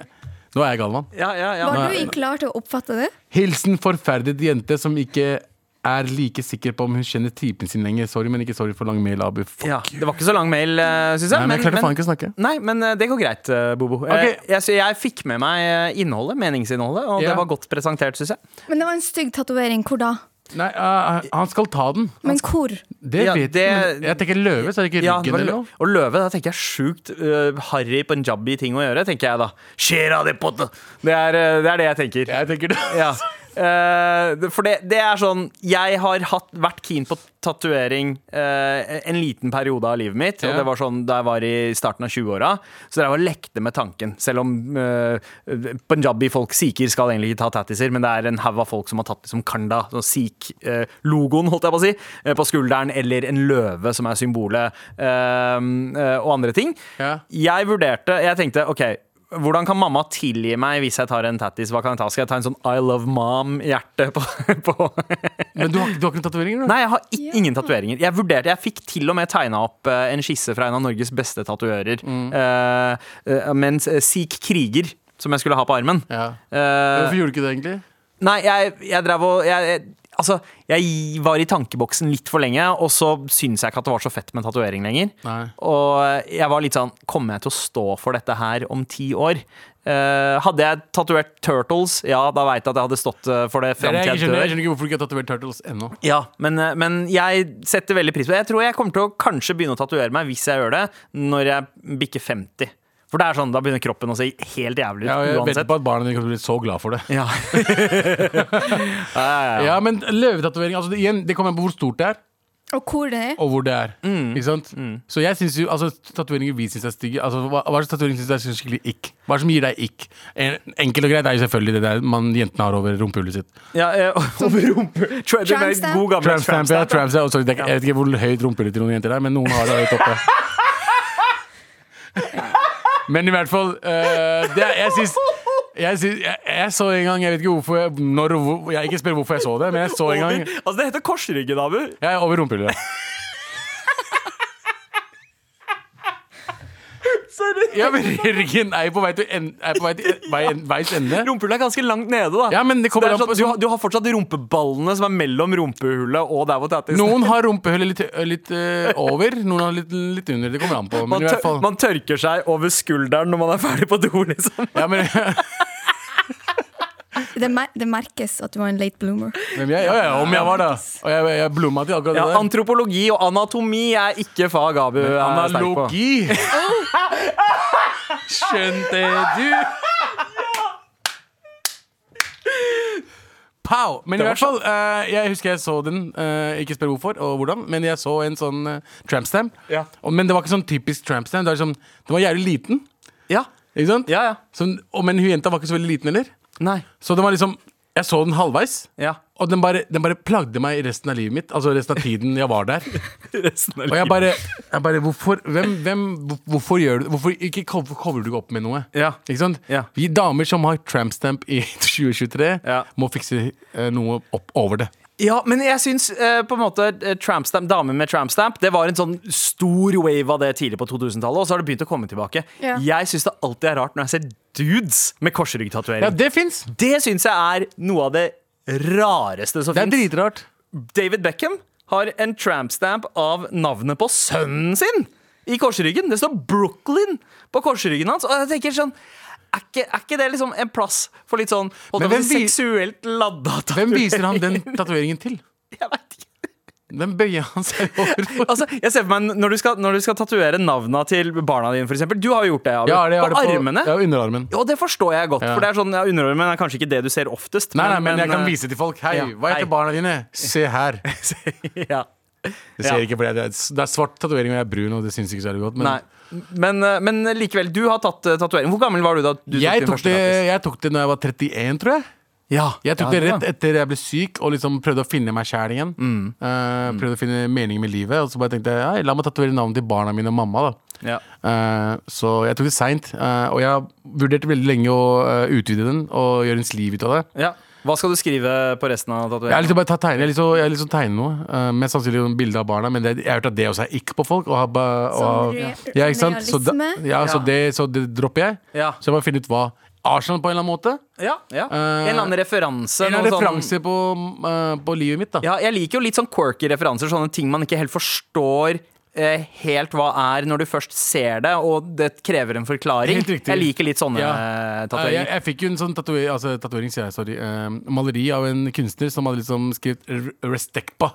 Nå er jeg gal, mann.
Ja, ja, ja.
Var du ikke klar til å oppfatte det?
Hilsen forferdet jente som ikke er like sikker på om hun kjenner typen sin lenger. Sorry, men ikke sorry for lang mail, Abu. Fuck.
Ja, det var ikke så lang mail, eh, syns jeg.
Nei, men jeg klarte faen ikke å snakke.
Nei, men eh, det går greit, eh, Bobo. Eh,
Ok.
Jeg, så jeg fikk med meg eh, innholdet, meningsinnholdet, og
Ja.
det var godt presentert, syns jeg.
Men det var en stygg tatovering. Hvor da?
Nei, eh, han skal ta den.
Men hvor?
Det
Ja,
vet
det-
jeg. men Jeg tenker løve, så er det ikke
Ja, det
ryggen
var,
eller
lø-
noe.
og løve, da tenker jeg sjukt eh, harry punjabi-ting å gjøre, tenker jeg da. Skjer av det potte! Det er, eh, det er det jeg tenker.
Jeg tenker det.
Ja. Eh, det- for det, det er sånn Jeg har hatt, vært keen på tatovering eh, en liten periode av livet mitt. Og
Ja.
det var sånn da jeg var i starten av 20-åra. Så jeg var lekte med tanken. Selv om eh, punjabi-folk, sikher, skal egentlig ikke ta tattiser, men det er en haug av folk som har tatt liksom kanda, sånn sikh-logoen, holdt jeg på å si, eh, på skulderen, eller en løve, som er symbolet, eh, eh, og andre ting.
Ja.
Jeg vurderte, jeg tenkte OK hvordan kan mamma tilgi meg hvis jeg tar en tattis? Hva kan jeg ta? Skal jeg ta en sånn I love mom-hjerte på, på
Men du har, du har ikke noen tatoveringer?
Nei, jeg har i- ingen tatoveringer. Jeg vurderte, jeg fikk til og med tegna opp eh, en skisse fra en av Norges beste tatoverer.
Mm.
eh, eh, med en s- sikh kriger, som jeg skulle ha på armen.
Ja.
Eh,
Hvorfor gjorde du ikke det, egentlig?
Nei, jeg, jeg drev og jeg, jeg, Altså, jeg var i tankeboksen litt for lenge, og så syns jeg ikke at det var så fett med tatovering lenger.
Nei.
Og jeg var litt sånn Kommer jeg til å stå for dette her om ti år? Eh, hadde jeg tatovert Turtles, ja, da veit jeg at jeg hadde stått eh, for det
Det er
fram til
det jeg, ikke
jeg
skjønner, jeg
dør.
skjønner ikke hvorfor du ikke har tatovert Turtles ennå.
Ja, men, eh, men jeg setter veldig pris på det. Jeg tror jeg kommer til å kanskje begynne å tatovere meg hvis jeg gjør det, når jeg bikker 50. For det er sånn, da begynner kroppen å se helt jævlig ut
Ja, jeg vet
uansett.
på at barna dine kommer til å bli så glad for det.
Ja.
Ja, men løvetatovering, altså, det, igjen, det kommer an på hvor stort det er.
Og hvor det er?
og hvor det er. Ikke sant? Så jeg synes jo, altså tatoveringer vi syns er stygge altså, Hva, hva slags tatovering syns du er sånn skikkelig ikk? Hva er det som gir deg ikk? En, enkelt og greit er jo selvfølgelig det der man jentene har over rumpehullet sitt.
Ja, eh, over rumpe Tra- det er
Tramstamp?
God gammel
Tramp stamp, ja.
tramstamp, ja.
Tramp stamp, og sorry, det er, ikke- jeg vet ikke hvor høyt rumpehullet til noen jenter er, men noen har det høyt oppe. Men i hvert fall eh, det, er- Jeg syns jeg, syns- jeg, jeg så en gang Jeg vet ikke hvorfor jeg, når, og hvor, jeg ikke spør hvorfor jeg så det, men jeg så en gang
Altså, det heter korsryggen, Abu.
Jeg er over rumpehullet. Ja, men ryggen er jo på vei til, en, er på vei til en, vei, en, veis ende.
Rumpehullet er ganske langt nede, da.
Ja, men det kommer
Så
an
sånn,
på-
du, har, du har fortsatt rumpeballene som er mellom rumpehullet og der hvor tattis
Noen har rumpehullet litt, litt eh, over, noen har litt, litt under. Det kommer an på.
man,
Men i hvert
tør,
fall
man tørker seg over skulderen når man er ferdig på do, liksom.
ja, men,
Det, mer det merkes at du var en late bloomer.
men jeg, ja, ja, om jeg var da Og jeg, jeg blomma til akkurat
Ja,
det der.
antropologi og anatomi er ikke fag Abu er sterk på.
Analogi! Skjønte du? Pow! Men i
Det var
hvert fall, eh, jeg husker jeg så den. eh, ikke spør hvorfor og hvordan, men jeg så en sånn uh, trampstam.
Ja.
Men det var ikke sånn typisk trampstam. Sånn, den var jævlig liten.
Ja.
Ikke sant?
Ja, ja.
Sånn- og, men hun jenta var ikke så veldig liten heller.
Nei.
Så den var liksom Jeg så den halvveis.
Ja.
Og den bare, den bare plagde meg i resten av livet mitt. Altså resten av tiden jeg var der.
Resten av
Og jeg
livet.
bare, jeg bare hvorfor, hvem, hvem, hvor- hvorfor gjør du Hvorfor ikke cover- cover du ikke opp med noe?
Ja.
Ikke sant?
Ja.
Vi damer som har trampstamp i 2023,
Ja.
må fikse eh, noe opp over det.
Ja, men jeg syns eh, på en måte eh, trampstamp, damer med trampstamp Det var en sånn stor wave av det tidlig på 2000-tallet, og så har det begynt å komme tilbake.
Ja.
Jeg syns det alltid er rart når jeg ser dudes med korsryggtatovering.
Ja, det fins!
Det syns jeg er noe av det rareste som
Det er
fins.
dritrart.
David Beckham har en trampstamp av navnet på sønnen sin i korsryggen. Det står Brooklyn på korsryggen hans. Og jeg tenker sånn er ikke, er ikke det liksom en plass for litt sånn holdt
Men
jeg på å si,
hvem vi-
seksuelt ladda
Hvem viser han den tatoveringen til?
Jeg vet ikke.
Den bøyer han seg over.
Altså, jeg ser for meg Når du skal, når du skal tatovere navna til barna dine, for eksempel Du har jo gjort det, Abid.
Ja, det har det
på armene.
Ja, underarmen.
Ja, det forstår jeg godt.
Ja.
For det er sånn, ja, Underarmen er kanskje ikke det du ser oftest.
Nei, nei, men jeg kan
eh,
vise til folk. Hei,
ja,
hva
hei.
heter barna dine? Se her.
ja.
Det
Ja.
ser ikke, for det er, det er svart tatovering, og jeg er brun, og det syns ikke så veldig godt. Men
Nei. Men, eh, men likevel, du har tatt eh, tatovering. Hvor gammel var du da du
jeg,
din
tok
første
det,
tattis?
jeg tok det når jeg var 31, tror jeg.
Ja,
Jeg
ja, Mm.
tok det
var-
rett etter jeg ble syk, og liksom prøvde å finne meg sjæl igjen. Eh, prøvde å finne mening med livet, og så bare tenkte jeg «Hei, la meg tatovere navnet til barna mine og mamma. da
Ja.
Eh, Så jeg tok det seint, eh, og jeg vurderte veldig lenge å eh, utvide den og gjøre ens liv ut av det.
Ja. Hva skal du skrive på resten av
Jeg har
tatoveringen?
liksom bare tatt tegne, jeg har liksom, jeg har liksom tegne noe. eh, mest sannsynlig noen bilder av barna, men det, jeg har hørt at det også er ikk på folk. Og har, ba- og,
Sånn
ja.
re-
Ja, ikke sant? Så, da,
realisme.
ja, så,
Ja.
det, så det dropper jeg.
Ja.
Så jeg må finne ut hva Arsenal på en eller annen måte.
Ja, ja. En
Eh,
eller annen referanse.
En
noe sånn-
referanse på, eh, på livet mitt, da.
Ja, jeg liker jo litt sånn quirky referanser, sånne ting man ikke helt forstår eh, helt hva er når du først ser det, og det krever en forklaring.
Helt riktig.
Jeg liker litt sånne
Ja.
eh,
Eh, jeg,
tatoveringer.
jeg fikk jo en sånn tatovering, altså, tatovering sier jeg, sorry, eh, maleri av en kunstner som hadde liksom skrevet R- 'Restekpa'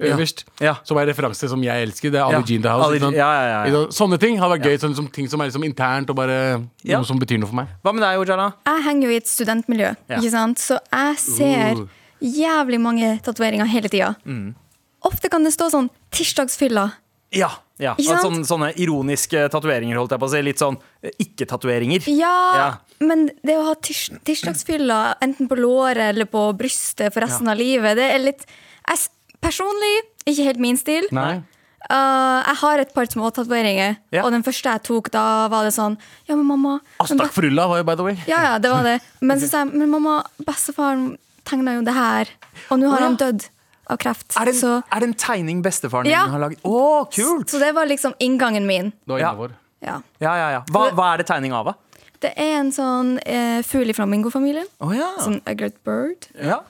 øverst.
Ja.
Som er en referanse som jeg elsker. Det er Ali
Ja.
Jean The House.
Ali-
ikke sant?
ja, ja, ja, ja.
Ikke sant? Sånne ting hadde vært gøy. Sånn, som ting som er liksom internt og bare
Ja.
noe som betyr noe for meg.
Hva med deg, Ojala?
Jeg henger jo i et studentmiljø,
Ja.
ikke sant? så jeg ser
Uh.
jævlig mange tatoveringer hele tida. Ofte kan det stå sånn 'tirsdagsfylla'.
Ja. ja.
Ikke sant?
Sånne, sånne ironiske tatoveringer, holdt jeg på å si. Litt sånn eh, ikke-tatoveringer.
Ja,
Ja.
men det å ha tirs tirsdagsfylla enten på låret eller på brystet for resten av livet, det er litt jeg, s- Personlig ikke helt min stil.
Nei.
Uh, jeg har et par småtatoveringer,
Ja. Ah,
og den første jeg tok, da var det sånn Ja, men mamma men
Astak
best-
Frulla var jo by the way.
Ja, ja, det var det. Men så sa jeg Men mamma, bestefaren tegna jo det her, og nå har
Å, ja.
han dødd av kreft.
Er det, en,
så,
er det en tegning bestefaren
Ja.
din har laget? Å, kult!
så det var liksom inngangen min.
Det var
Ja.
innenfor.
Ja.
Ja, ja, ja. Hva, hva er det tegning av, da?
Det er en sånn eh, fugl i flamingofamilien.
Å ja.
Sånn Eggert Bird.
ja.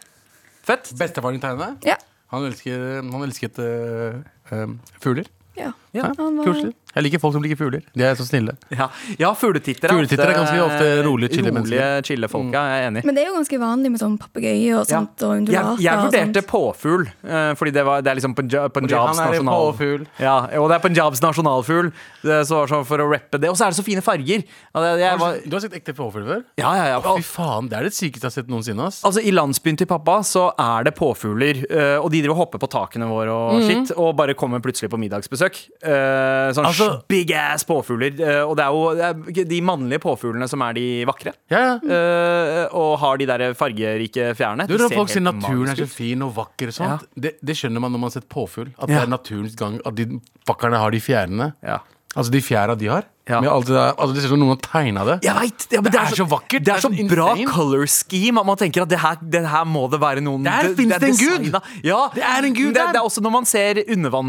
Fett.
Bestefaren din tegna det.
Ja.
Han, elsker, han elsket eh, eh, fugler.
ja.
Ja,
han var-
Koselig. Jeg liker folk som liker fugler. De er så snille.
Ja, ja fugletittere
Fugletittere er ganske ofte rolige,
rolige,
chille mennesker. Mm.
chille folk. Ja, jeg er enig.
Men det er jo ganske vanlig med sånn papegøye og sånt. Og
jeg,
undulater
jeg
og
vurderte
sånt.
påfugl, eh, fordi det, var, det er liksom Punja- Punjabs
han er en
nasjonal-
påfugl.
Ja, og det er Punjabs nasjonalfugl. Det, så, så for å rappe det. Og så er det så fine farger! Ja, det, jeg,
Har
var,
du, du har sett ekte påfugl før?
ja, ja, ja.
Fy faen, det er det sykeste jeg har sett noensinne. ass
Altså, I landsbyen til pappa så er det påfugler, eh, og de driver og hopper på takene våre
Mhm.
og shit, og bare kommer plutselig på middagsbesøk. Eh, sånn
Altså-
big ass påfugler. eh, og det er jo det er ikke de mannlige påfuglene som er de vakre.
Ja, ja.
Eh, og har de der fargerike fjærene.
Du,
De
når
ser
folk sier
helt
naturen er
magiske ut.
så fin og vakker og sånt, det, det skjønner man når man har sett påfugl. At
Ja.
det er naturens gang at de fuckerne har de fjærene.
Ja.
Altså de fjæra de har.
Ja.
Med alt det, der, altså, det ser ut som noen har tegna det.
Jeg vet, ja, men
Det er så vakkert,
Det er så,
det er så
bra
insane.
color scheme at man tenker at det her, det her må det være noen
Der finnes det en gud!
designet. Ja,
Det er en gud
det,
der!
det er også når man ser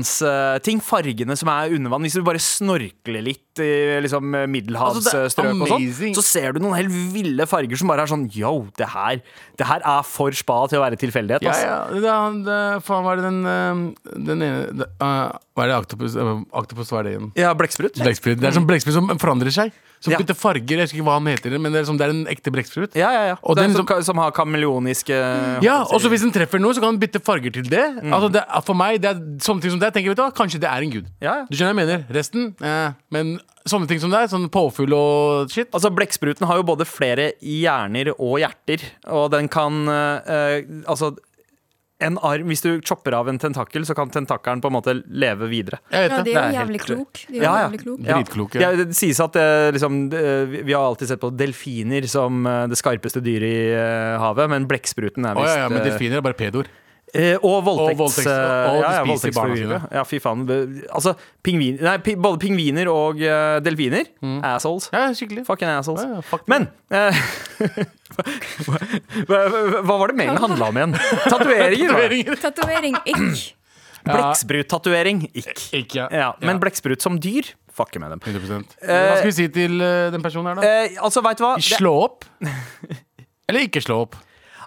undervannsting, fargene som er under vann. Hvis du bare snorkler litt i liksom,
Altså, det er
middelhavsstrøk og sånn,
amazing.
så ser du noen helt ville farger som bare er sånn yo, det her, det her er for spa til å være tilfeldighet.
Ja,
ass.
ja. Det er han det- Faen, hva er det den eh, Den ene det, eh, Hva er det Octopus eh, Octopus, hva er det igjen?
ja blekksprut.
Blekksprut. Det er sånn blekksprut som forandrer seg. Som
Ja.
bytter farger. Jeg husker ikke hva han heter, men det er, som, det er en ekte blekksprut.
Ja, ja, ja.
Og
det er
den
som,
som-
som har kameleoniske
Ja, og så hvis den treffer noe, så kan den bytte farger til det.
Mm.
Altså det er- For meg, det er sånne ting som det. Jeg tenker, vet du hva, Kanskje det er en gud.
Ja, ja.
Du skjønner hva jeg mener? Resten? Eh, men sånne ting som det er, sånn påfugl og shit.
Altså, Blekkspruten har jo både flere hjerner og hjerter, og den kan eh, eh, Altså, en arm Hvis du chopper av en tentakkel, så kan tentakkelen på en måte leve videre.
Jeg vet
Ja, de
det.
Det
er
er
jo
helt-
jævlig klok. De er jo
Ja, ja.
jævlig klok.
Ja.
Dritkloke.
Ja, det sies at eh, liksom, eh, vi- vi har alltid sett på delfiner som eh, det skarpeste dyret i eh, havet, men blekkspruten er
Å
visst
ja, ja, men
eh,
delfiner er bare pedoer.
Eh, og voldtekts... eh,
Og voldtekts- og- og
ja, ja,
de spiser barna
voldtektsforbrydere.
sine.
Ja, fy faen. Det- Altså, pingvin, nei, pi, både pingviner og eh, delfiner. Assholes.
Mm. Ja, ja, skikkelig.
Fucking assholes.
Ja, ja, fuck
Men eh, hva, hva- hva var det mailen handla om igjen? Tatoveringer. var det.
Tatovering ikk.
Blekksprut-tatovering. Ikk.
Ikke ja.
Ja, men
Ja,
blekksprut som dyr, fucker med dem.
100%. Hva skal vi si til eh, den personen her, da?
Eh, altså, veit du hva? Det,
Slå opp? Eller ikke slå opp?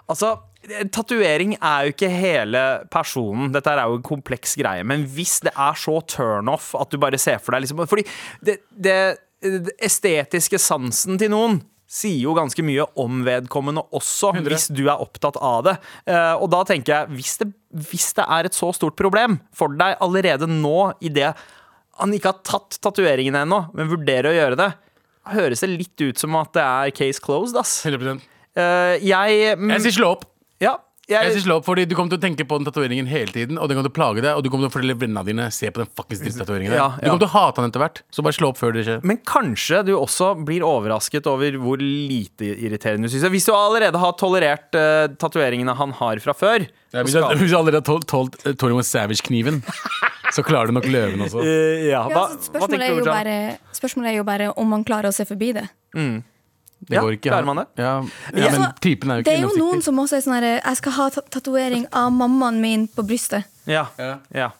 altså, Tatovering er jo ikke hele personen. Dette her er jo en kompleks greie. Men hvis det er så turnoff at du bare ser for deg liksom, Fordi det, det, det estetiske sansen til noen sier jo ganske mye om vedkommende også, hvis du er opptatt av det. Eh, og da tenker jeg, hvis det, hvis det er et så stort problem for deg allerede nå, idet han ikke har tatt tatoveringene ennå, men vurderer å gjøre det, høres det litt ut som at det er case closed, ass.
100%
Eh, jeg mm,
Jeg sier slå opp.
Ja.
Jeg
Jeg,
sier slå opp, fordi Du kommer til å tenke på den tatoveringen hele tiden, og den kommer til å plage deg. Og du kommer til å fortelle vennene dine Se på den fuckings drittatatoveringen. der.
Ja,
Du
ja.
kommer til å hate den etter hvert. Så bare slå opp før det skjer.
men kanskje du også blir overrasket over hvor lite irriterende du syns det er. Hvis du allerede har tolerert uh, tatoveringene han har fra før så
Hvis
skal-
du allerede har tålt Torium Savage-kniven, så klarer du nok løven også.
Eh, ja,
Ja,
hva,
altså,
hva
spørsmålet,
tenker
er
du,
jo
John?
bare, spørsmålet er jo bare om man klarer å se forbi det.
Ja, klarer man det?
Ja,
Ja,
ja, men
altså,
typen er jo
det
ikke
er jo noen
gjennomsiktig.
som også er sånn her Jeg skal ha ta- tatovering av mammaen min på brystet.
Ja.
Ja.
ja.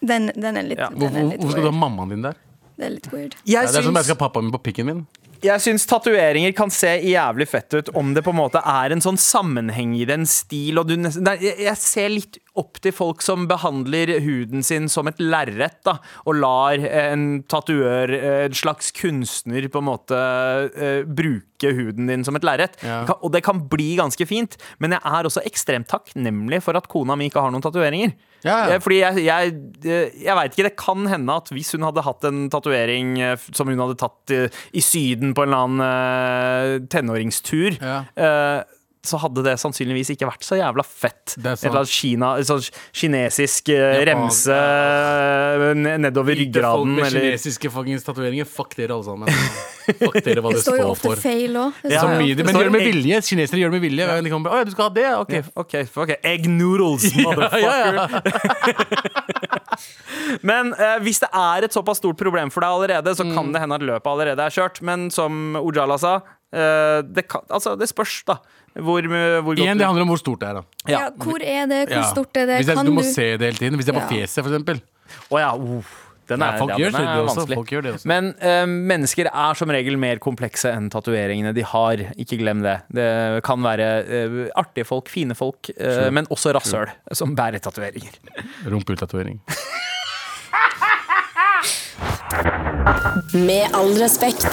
Den, den er litt,
Ja.
den
Hvor,
er
hvor,
litt
hvorfor skal du
weird.
ha mammaen din der?
Det er litt weird.
Jeg
Ja, det er som om jeg
syns,
skal ha pappaen min på pikken min.
jeg syns tatoveringer kan se jævlig fett ut om det på en måte er en sånn sammenheng i det, en stil og du nesten Nei, jeg- Jeg ser litt opp til folk som behandler huden sin som et lerret, da, og lar en tatuør, eh, en slags kunstner, på en måte eh, bruke huden din som et lerret.
Ja.
Kan- Og det kan bli ganske fint, men jeg er også ekstremt takknemlig for at kona mi ikke har noen tatoveringer.
Ja, ja.
Eh, Fordi jeg, jeg, jeg veit ikke, det kan hende at hvis hun hadde hatt en tatovering eh, som hun hadde tatt eh, i Syden på en eller annen eh, tenåringstur,
Ja.
eh, så hadde det sannsynligvis ikke vært så jævla fett.
Det er sant.
Et eller annet Kina, sånn kinesisk eh,
Japan,
remse eh, ne- nedover ryggraden.
Folk med
Eller,
kinesiske fuckings tatoveringer. Fuck dere, alle sammen. Fuck dere hva
Det
det
står jo
står
ofte
for.
feil òg.
Ja, ja.
Så mye de-
Det
Men
står
gjør det med
egg-
vilje. Kinesere gjør det med vilje. De kommer, bare, Å ja, du skal ha det? ja, Ok.
Ok, ok, ok. Egg noodles, motherfucker. Men eh, hvis det er et såpass stort problem for deg allerede, så
Mm.
kan det hende at løpet allerede er kjørt. Men som Ojala sa, eh, det, kan, altså, det spørs, da. Hvor, hvor godt
Igjen, det handler om hvor stort det er. da
Ja.
Ja, hvor er det? Hvor
Ja.
stort er det?
Hvis det er,
Kan
du må
du-
se det hele tiden. Hvis det er på
Ja.
fjeset, for eksempel.
Å ja, uh, den er,
Ja, folk
ja,
gjør
den
det,
er
det også.
vanskelig.
Folk gjør det også.
Men eh, mennesker er som regel mer komplekse enn tatoveringene de har. Ikke glem det. Det kan være eh, artige folk, fine folk, eh, men også rasshøl som bærer tatoveringer.
Rumpetatovering.
Med all respekt.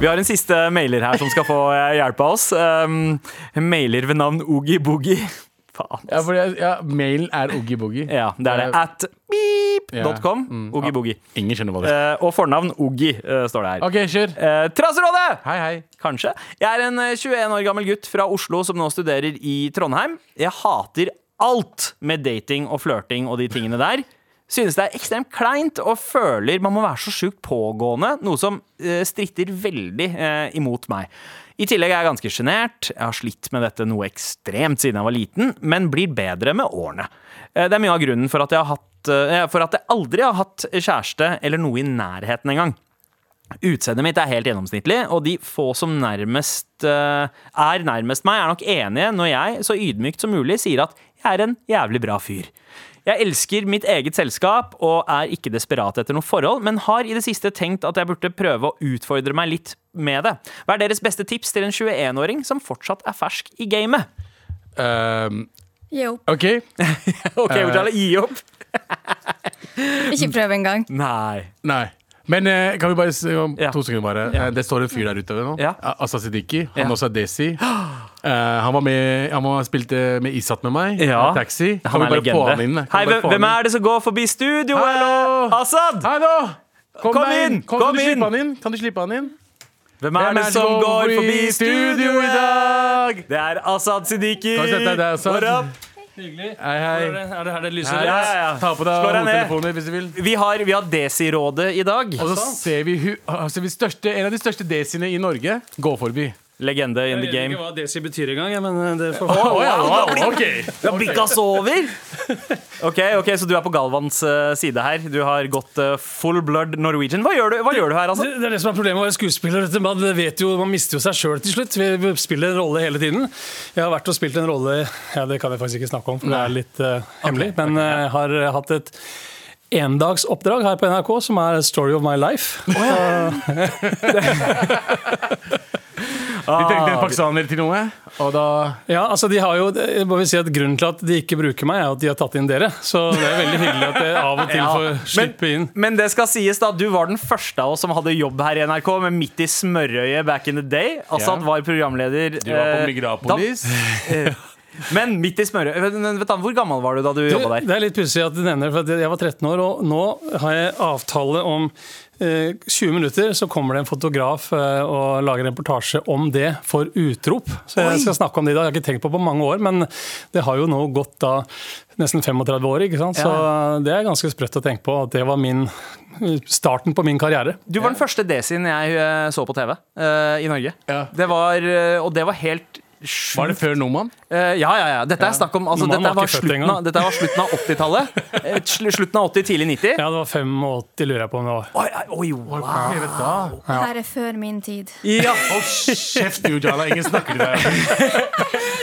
Vi har en siste mailer her som skal få eh, hjelp av oss. Um, en mailer ved navn Oogie Boogie. Faen.
Ja, for jeg, ja, mailen er oogie-boogie.
Ja, det er det. At beep.com.
Mm.
Oogie Boogie.
Ingen skjønner hva det er.
Eh, og fornavn Oogie eh, står det her.
OK, kjør.
Eh, Traserådet!
Hei, hei.
Kanskje. Jeg er en eh, 21 år gammel gutt fra Oslo som nå studerer i Trondheim. Jeg hater alt med dating og flørting og de tingene der. Synes det er ekstremt kleint og føler man må være så sjukt pågående, noe som eh, stritter veldig eh, imot meg. I tillegg er jeg ganske sjenert. Jeg har slitt med dette noe ekstremt siden jeg var liten, men blir bedre med årene. Eh, det er mye av grunnen for at jeg har hatt eh, for at jeg aldri har hatt kjæreste eller noe i nærheten engang. Utseendet mitt er helt gjennomsnittlig, og de få som nærmest eh, er nærmest meg, er nok enige når jeg så ydmykt som mulig sier at jeg er en jævlig bra fyr. Jeg elsker mitt eget selskap og er ikke desperat etter noe forhold, men har i det siste tenkt at jeg burde prøve å utfordre meg litt med det. Hva er deres beste tips til en 21-åring som fortsatt er fersk i gamet?
Ehm,
Gi opp.
OK.
Ok, Ujala, gi opp!
Ikke prøv engang.
Nei.
Nei. Men eh, kan vi bare se om
Ja.
to sekunder bare Eh, Det står en fyr der ute nå.
Ja.
Asa Siddiqui. Han
Ja.
også er Desi. Eh, han var med Han var, spilte eh, med Isat med meg.
Ja.
eh, Taxi. Kan
Han
vi
er
bare få han inn?
legende.
Kan
Hei,
vi bare
hvem,
få
hvem
han
er det som går forbi
Hallo!
studioet? Assad!
Hei da! Kom,
Kom
deg
inn!
Kom,
Kom
kan du
inn!
slippe han inn? Kan du slippe han inn?
Hvem er det som går forbi studio i dag? Det er Asaad Siddiqui.
Kan vi sette deg der, Asaad?
What up?
Hei, hei.
Er det her det lyser?
Ja, ja, ja.
Ta på deg
Slå deg ned.
hodetelefoner hvis du vil.
Vi har, vi har Desi-rådet i dag.
Og så ser vi, hu altså, vi største, en av de største desiene i Norge gå forbi.
Legende in the
Jeg vet
game.
ikke hva Desi betyr engang, jeg, men eh, det får
Vi har bikka oss over! Ok, ok, Så du er på Galvans eh, side her. Du har gått eh, full blood Norwegian. Hå gjør du, hva gjør du her,
Det
Asaad?
det er det som er problemet med å være skuespiller. vet du. Man, vet jo, man mister jo seg sjøl til slutt. Vi- Vi spiller en rolle hele tiden. Jeg har vært og spilt en rolle ja, Det kan jeg faktisk ikke snakke om, for det er litt eh, hemmelig. Men jeg har eh, hatt et endagsoppdrag her på NRK som er 'Story of my life'.
Vi trengte
Ah.
en pakistaner til noe, og da
Ja, altså de har jo, jeg må vel si at Grunnen til at de ikke bruker meg, er at de har tatt inn dere. Så det er veldig hyggelig at jeg av og til
Ja,
får slippe inn.
Men det skal sies da, du var den første av oss som hadde jobb her i NRK, men midt i smørøyet back in the day. Asaad
Ja.
var programleder.
Du var
eh,
på
da-
Migrapolis.
Men midt i smørøyet Vet du, Hvor gammel var du da du
Du,
jobba der?
Det er litt pussig at du nevner det, for at jeg var 13 år, og nå har jeg avtale om eh, 20 minutter, så kommer det en fotograf eh, og lager en reportasje om det for utrop. Så jeg skal snakke om det i dag. Jeg har ikke tenkt på det på mange år, men det har jo nå gått da nesten 35 år, ikke sant? Så det er ganske sprøtt å tenke på at det var min, starten på min karriere.
Du var den første desien jeg eh, så på TV eh, i Norge.
Ja.
Det var, eh, og det var helt sjukt.
Var det før Noman?
Eh, ja, ja, ja. Dette er snakk om altså,
Noman
dette,
var
var
ikke født
slutten av,
engang.
dette var slutten av 80-tallet. Eh, sl- Slutten av 80, tidlig 90.
Ja, det var 85, lurer jeg på om det var.
Oi, oi, wow.
Her er før min tid.
Ja.
Kjeft, du, Jala. Ingen snakker til deg.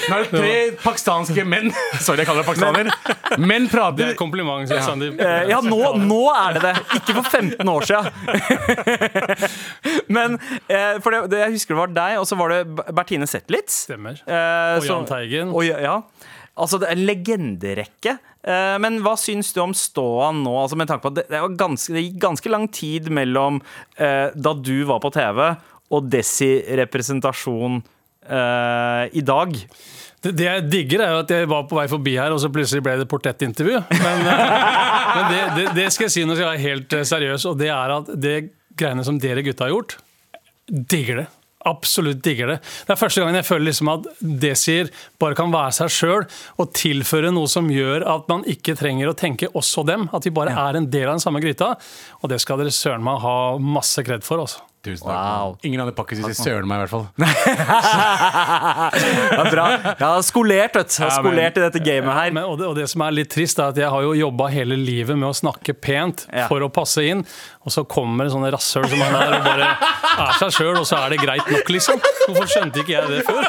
Nå er det tre pakistanske menn Sorry, jeg kaller deg pakistaner. Menn
Det
prater.
er et kompliment, Sandeep.
Eh, ja, nå, nå er det det. Ikke for 15 år siden. Men eh, for det, det, jeg husker det var deg, og så var det B- Bertine Zetlitz.
Stemmer.
Eh,
Og
så-
Jahn Teigen.
Og, ja, ja. Altså, det er en legjenderekke. Eh, men hva syns du om ståa nå, altså, med tanke på at det, det, var ganske, det gikk ganske lang tid mellom eh, da du var på TV, og Desi-representasjon eh, i dag?
Det, det jeg digger, er jo at jeg var på vei forbi her, og så plutselig ble det portrettintervju. Men, eh, men det, det, det skal jeg si når jeg er helt eh, seriøs, og det er at det greiene som dere gutta har gjort, digger det. Absolutt digger det. Det er første gangen jeg føler liksom at Desir bare kan være seg sjøl og tilføre noe som gjør at man ikke trenger å tenke også dem. At vi bare er en del av den samme gryta. Og det skal dere søren meg ha masse kred for. Altså.
Tusen takk.
Wow.
Ingen andre pakkiser sier søren meg, i hvert fall.
Det er bra. Jeg har skolert, vet du. Jeg har
Ja, men-
skolert i dette gamet her.
Men, og, det, og det som er litt trist, er at jeg har jo jobba hele livet med å snakke pent
Ja.
for å passe inn, og så kommer sånne rasshøl som han er og bare er seg sjøl, og så er det greit nok, liksom. Hvorfor skjønte ikke jeg det før?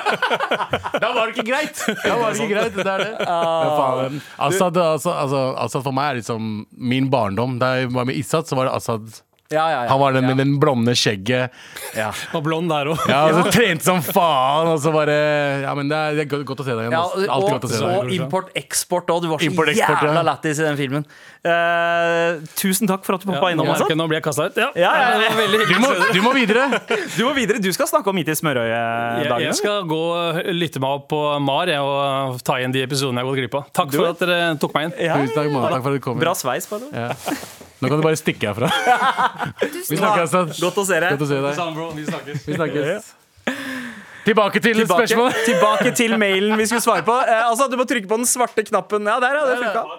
Da var det ikke greit! Da var det ikke greit, det er det. Ja, faen. Assad, altså, altså, Assad for meg er liksom min barndom. Da jeg var med Issad, så var det Assad.
Ja, ja, ja.
Han var den med den blonde skjegget.
Ja.
Og blond der òg.
Ja, og så trente som faen, og så bare Ja, men det er, det er godt- godt å se deg igjen.
Ja,
ass. Alltid
og
godt å se deg.
og import-eksport òg. Du var så
liksom. Import-eksport, ja.
jævla lættis i den filmen. Eh, tusen takk for at du poppa innom. Altså.
Nå blir jeg kasta ut. Ja.
Ja, ja, ja.
Det var veldig
Du
hyggelig.
må, du må videre!
Du må videre. Du skal snakke om midt i
Jeg,
smørøyet-dagen.
jeg skal gå og lytte meg opp på MAR jeg, og ta igjen de episodene jeg har gått glipp av. Takk for at dere tok meg inn.
Ja,
Tusen takk, mann. Takk for at du kom.
Bra sveis, by the way.
Nå kan du bare stikke herfra. Vi snakkes, Assad.
Godt å se deg.
Godt å se deg.
Samme, bro. Vi snakkes.
Vi snakkes. Tilbake til
Tilbake,
spørsmålet.
tilbake til mailen vi skulle svare på. Eh, altså, Du må trykke på den svarte knappen. Ja, der, ja. Det funka.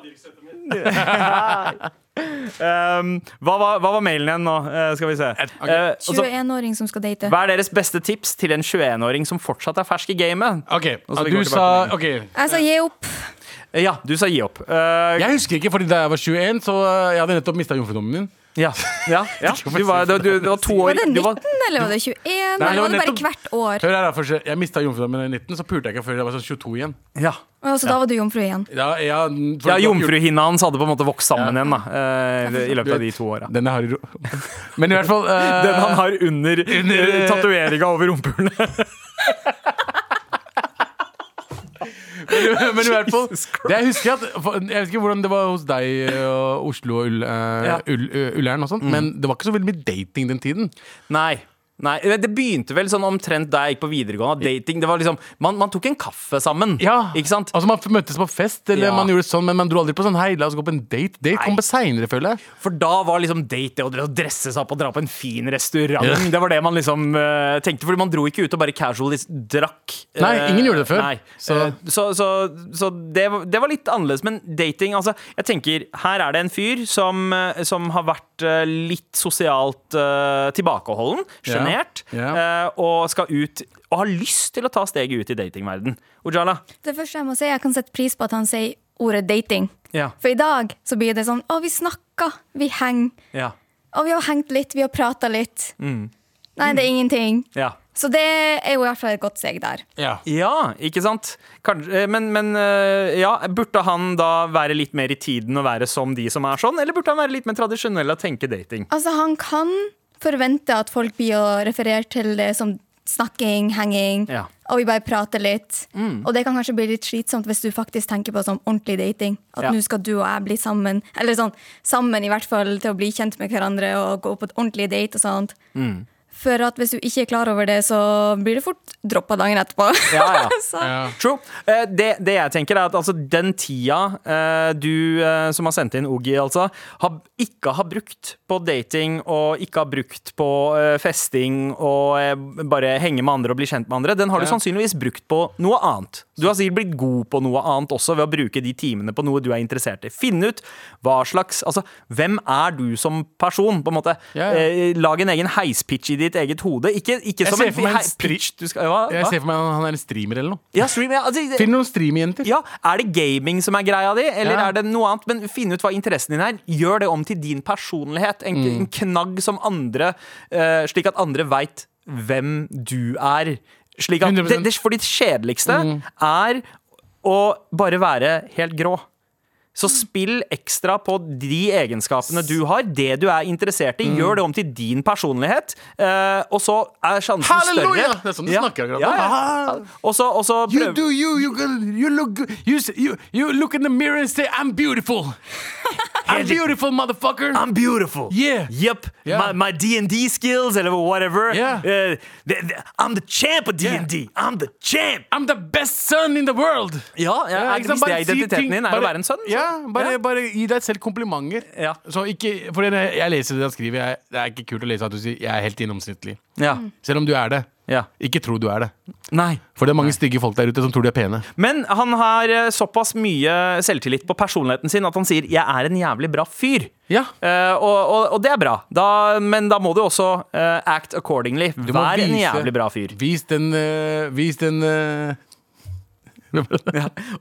um, hva, var- hva var mailen igjen nå? Eh, skal vi se. Eh, altså,
21-åring som skal date.
hva er deres beste tips til en 21-åring som fortsatt er fersk i gamet?
OK,
Og så vi går
du sa OK.
Jeg sa Altså, gi opp.
Eh, Ja, du sa gi opp. Eh,
Jeg husker ikke, fordi da jeg var 21, så eh, jeg hadde nettopp mista jomfrudommen min.
Ja, ja, ja. Du, var, du, du, du var to år
Var det 19,
du var,
eller var det 21?
Nei,
eller var det bare
nettopp-
hvert år?
Hør her da, først, Jeg mista jomfrudommen da jeg var 19, så pulte jeg ikke før jeg var sånn 22 igjen.
Ja,
Å, så da var du jomfru igjen.
Ja, ja, n- for-
ja Jomfruhinna hans hadde på en måte vokst sammen igjen da eh, i løpet av de to åra.
Den jeg har i ro... Men i hvert fall eh,
Den han har under, under
Under-
tatoveringa over rumpehullet.
Men i hvert fall det Jeg husker at for- Jeg vet ikke hvordan det var hos deg eh, og Oslo og Ull, eh,
Ja. Mm.
Ull- eh, Ullern og sånn, men det var ikke så veldig mye dating den tiden.
Nei. Nei, Det begynte vel sånn omtrent da jeg gikk på videregående. at Dating, det var liksom, Man, man tok en kaffe sammen. Ikke sant?
Altså Man møttes på fest,
Ja.
eller man gjorde sånn, men man dro aldri på sånn Hei, la oss gå på en date. Date kom på seinere, føler jeg.
For da var liksom date det å dre- å dresse seg opp og dra på en fin restaurant. Det var det man liksom eh, tenkte, fordi man dro ikke ut og bare casual liksom drakk. Eh,
Nei, ingen gjorde det før.
Nei.
Så-
Eh, så, så, så det, var- det var litt annerledes. Men dating, altså Jeg tenker, her er det en fyr som, eh, som har vært eh, litt sosialt eh, tilbakeholden,
Ja.
sjenert,
Ja.
eh, og skal ut og har lyst til å ta steget ut i datingverden. Ojala?
Det første jeg må si, jeg kan sette pris på at han sier ordet dating.
Ja.
For i dag så blir det sånn å, vi snakker, vi henger.
Ja.
Å, vi har hengt litt, vi har prata litt. Nei, det er ingenting.
ja.
Så det er jo i hvert fall et godt steg der.
Ja, ikke sant? Kanskje, eh, men men eh, ja, burde han da være litt mer i tiden og være som de som er sånn, eller burde han være litt mer tradisjonell og tenke dating?
Altså, han kan forvente at folk blir å referere til det som snakking, henging,
Ja. Mm.
og vi bare prater litt. Og det kan kanskje bli litt slitsomt hvis du faktisk tenker på sånn ordentlig dating. At
Ja.
nå skal du og jeg bli sammen,
Mm.
eller sånn sammen i hvert fall til å bli kjent med hverandre og gå på et ordentlig date og sånt. For at hvis du ikke er klar over det, så blir det fort droppa dagen etterpå.
Ja, ja.
så,
True. Eh, det, det jeg tenker er at altså, den tida eh, du eh, som har sendt inn Oogie, altså, har, ikke har brukt på dating og ikke har brukt på eh, festing og eh, bare henge med andre og bli kjent med andre, den har du sannsynligvis brukt på noe annet. Du har sikkert blitt god på noe annet også ved å bruke de timene på noe du er interessert i. Finn ut hva slags Altså, hvem er du som person, på en måte?
Ja, ja.
Eh, lag en egen heispitch i ditt eget hode. Ikke, ikke som
ser
en
for meg en
hei- pitch du skal hva?
Jeg
Hva?
ser for meg han han er en streamer eller noe.
Ja, stream, ja, altså,
Finn noen streamerjenter.
ja, Er det gaming som er greia di, eller
Ja.
er det noe annet? Men finn ut hva interessen din er. Gjør det om til din personlighet. En,
Mm.
en knagg som andre, eh, slik at andre veit hvem du er. Slik at det,
100%. Mm.
det, for ditt kjedeligste er å bare være helt grå. Så spill ekstra på de egenskapene du har, det du er interessert i.
Mm.
Gjør det om til din personlighet, eh, og så er sjansen
Halleluja!
større.
Det er sånn du
Ja.
snakker akkurat
Ja,
nå. Ah.
ja. Og så og så
You
prøv-
do you, you, go- you look good. You, s- you, you look in the mirror and say I'm beautiful. I'm beautiful, motherfucker.
I'm beautiful.
Yeah.
Yep.
Yeah.
My, my D&D skills eller whatever.
Yeah.
Uh, the- the- I'm the champ of D&D. I'm the champ.
I'm the best son in the world.
Ja, ja,
Ja,
er
ikke
det,
sant?
hvis det
Bare
er
si ting-
identiteten din, er
bare-
å være en sønn. så-
Ja, bare,
Ja.
bare gi deg selv komplimenter.
Ja.
Så ikke, for jeg, jeg leser det han skriver, jeg, det er ikke kult å lese at du sier 'jeg er helt innomsnittlig'.
Ja.
Selv om du er det.
Ja.
Ikke tro du er det.
Nei.
For det er mange stygge folk der ute som tror de er pene.
Men han har eh, såpass mye selvtillit på personligheten sin at han sier 'jeg er en jævlig bra fyr'.
Ja.
Eh, og, og, og det er bra, da, men da må du også eh, act accordingly.
Du må
Vær en
vise-
jævlig bra fyr.
Vis den øh, Vis den øh,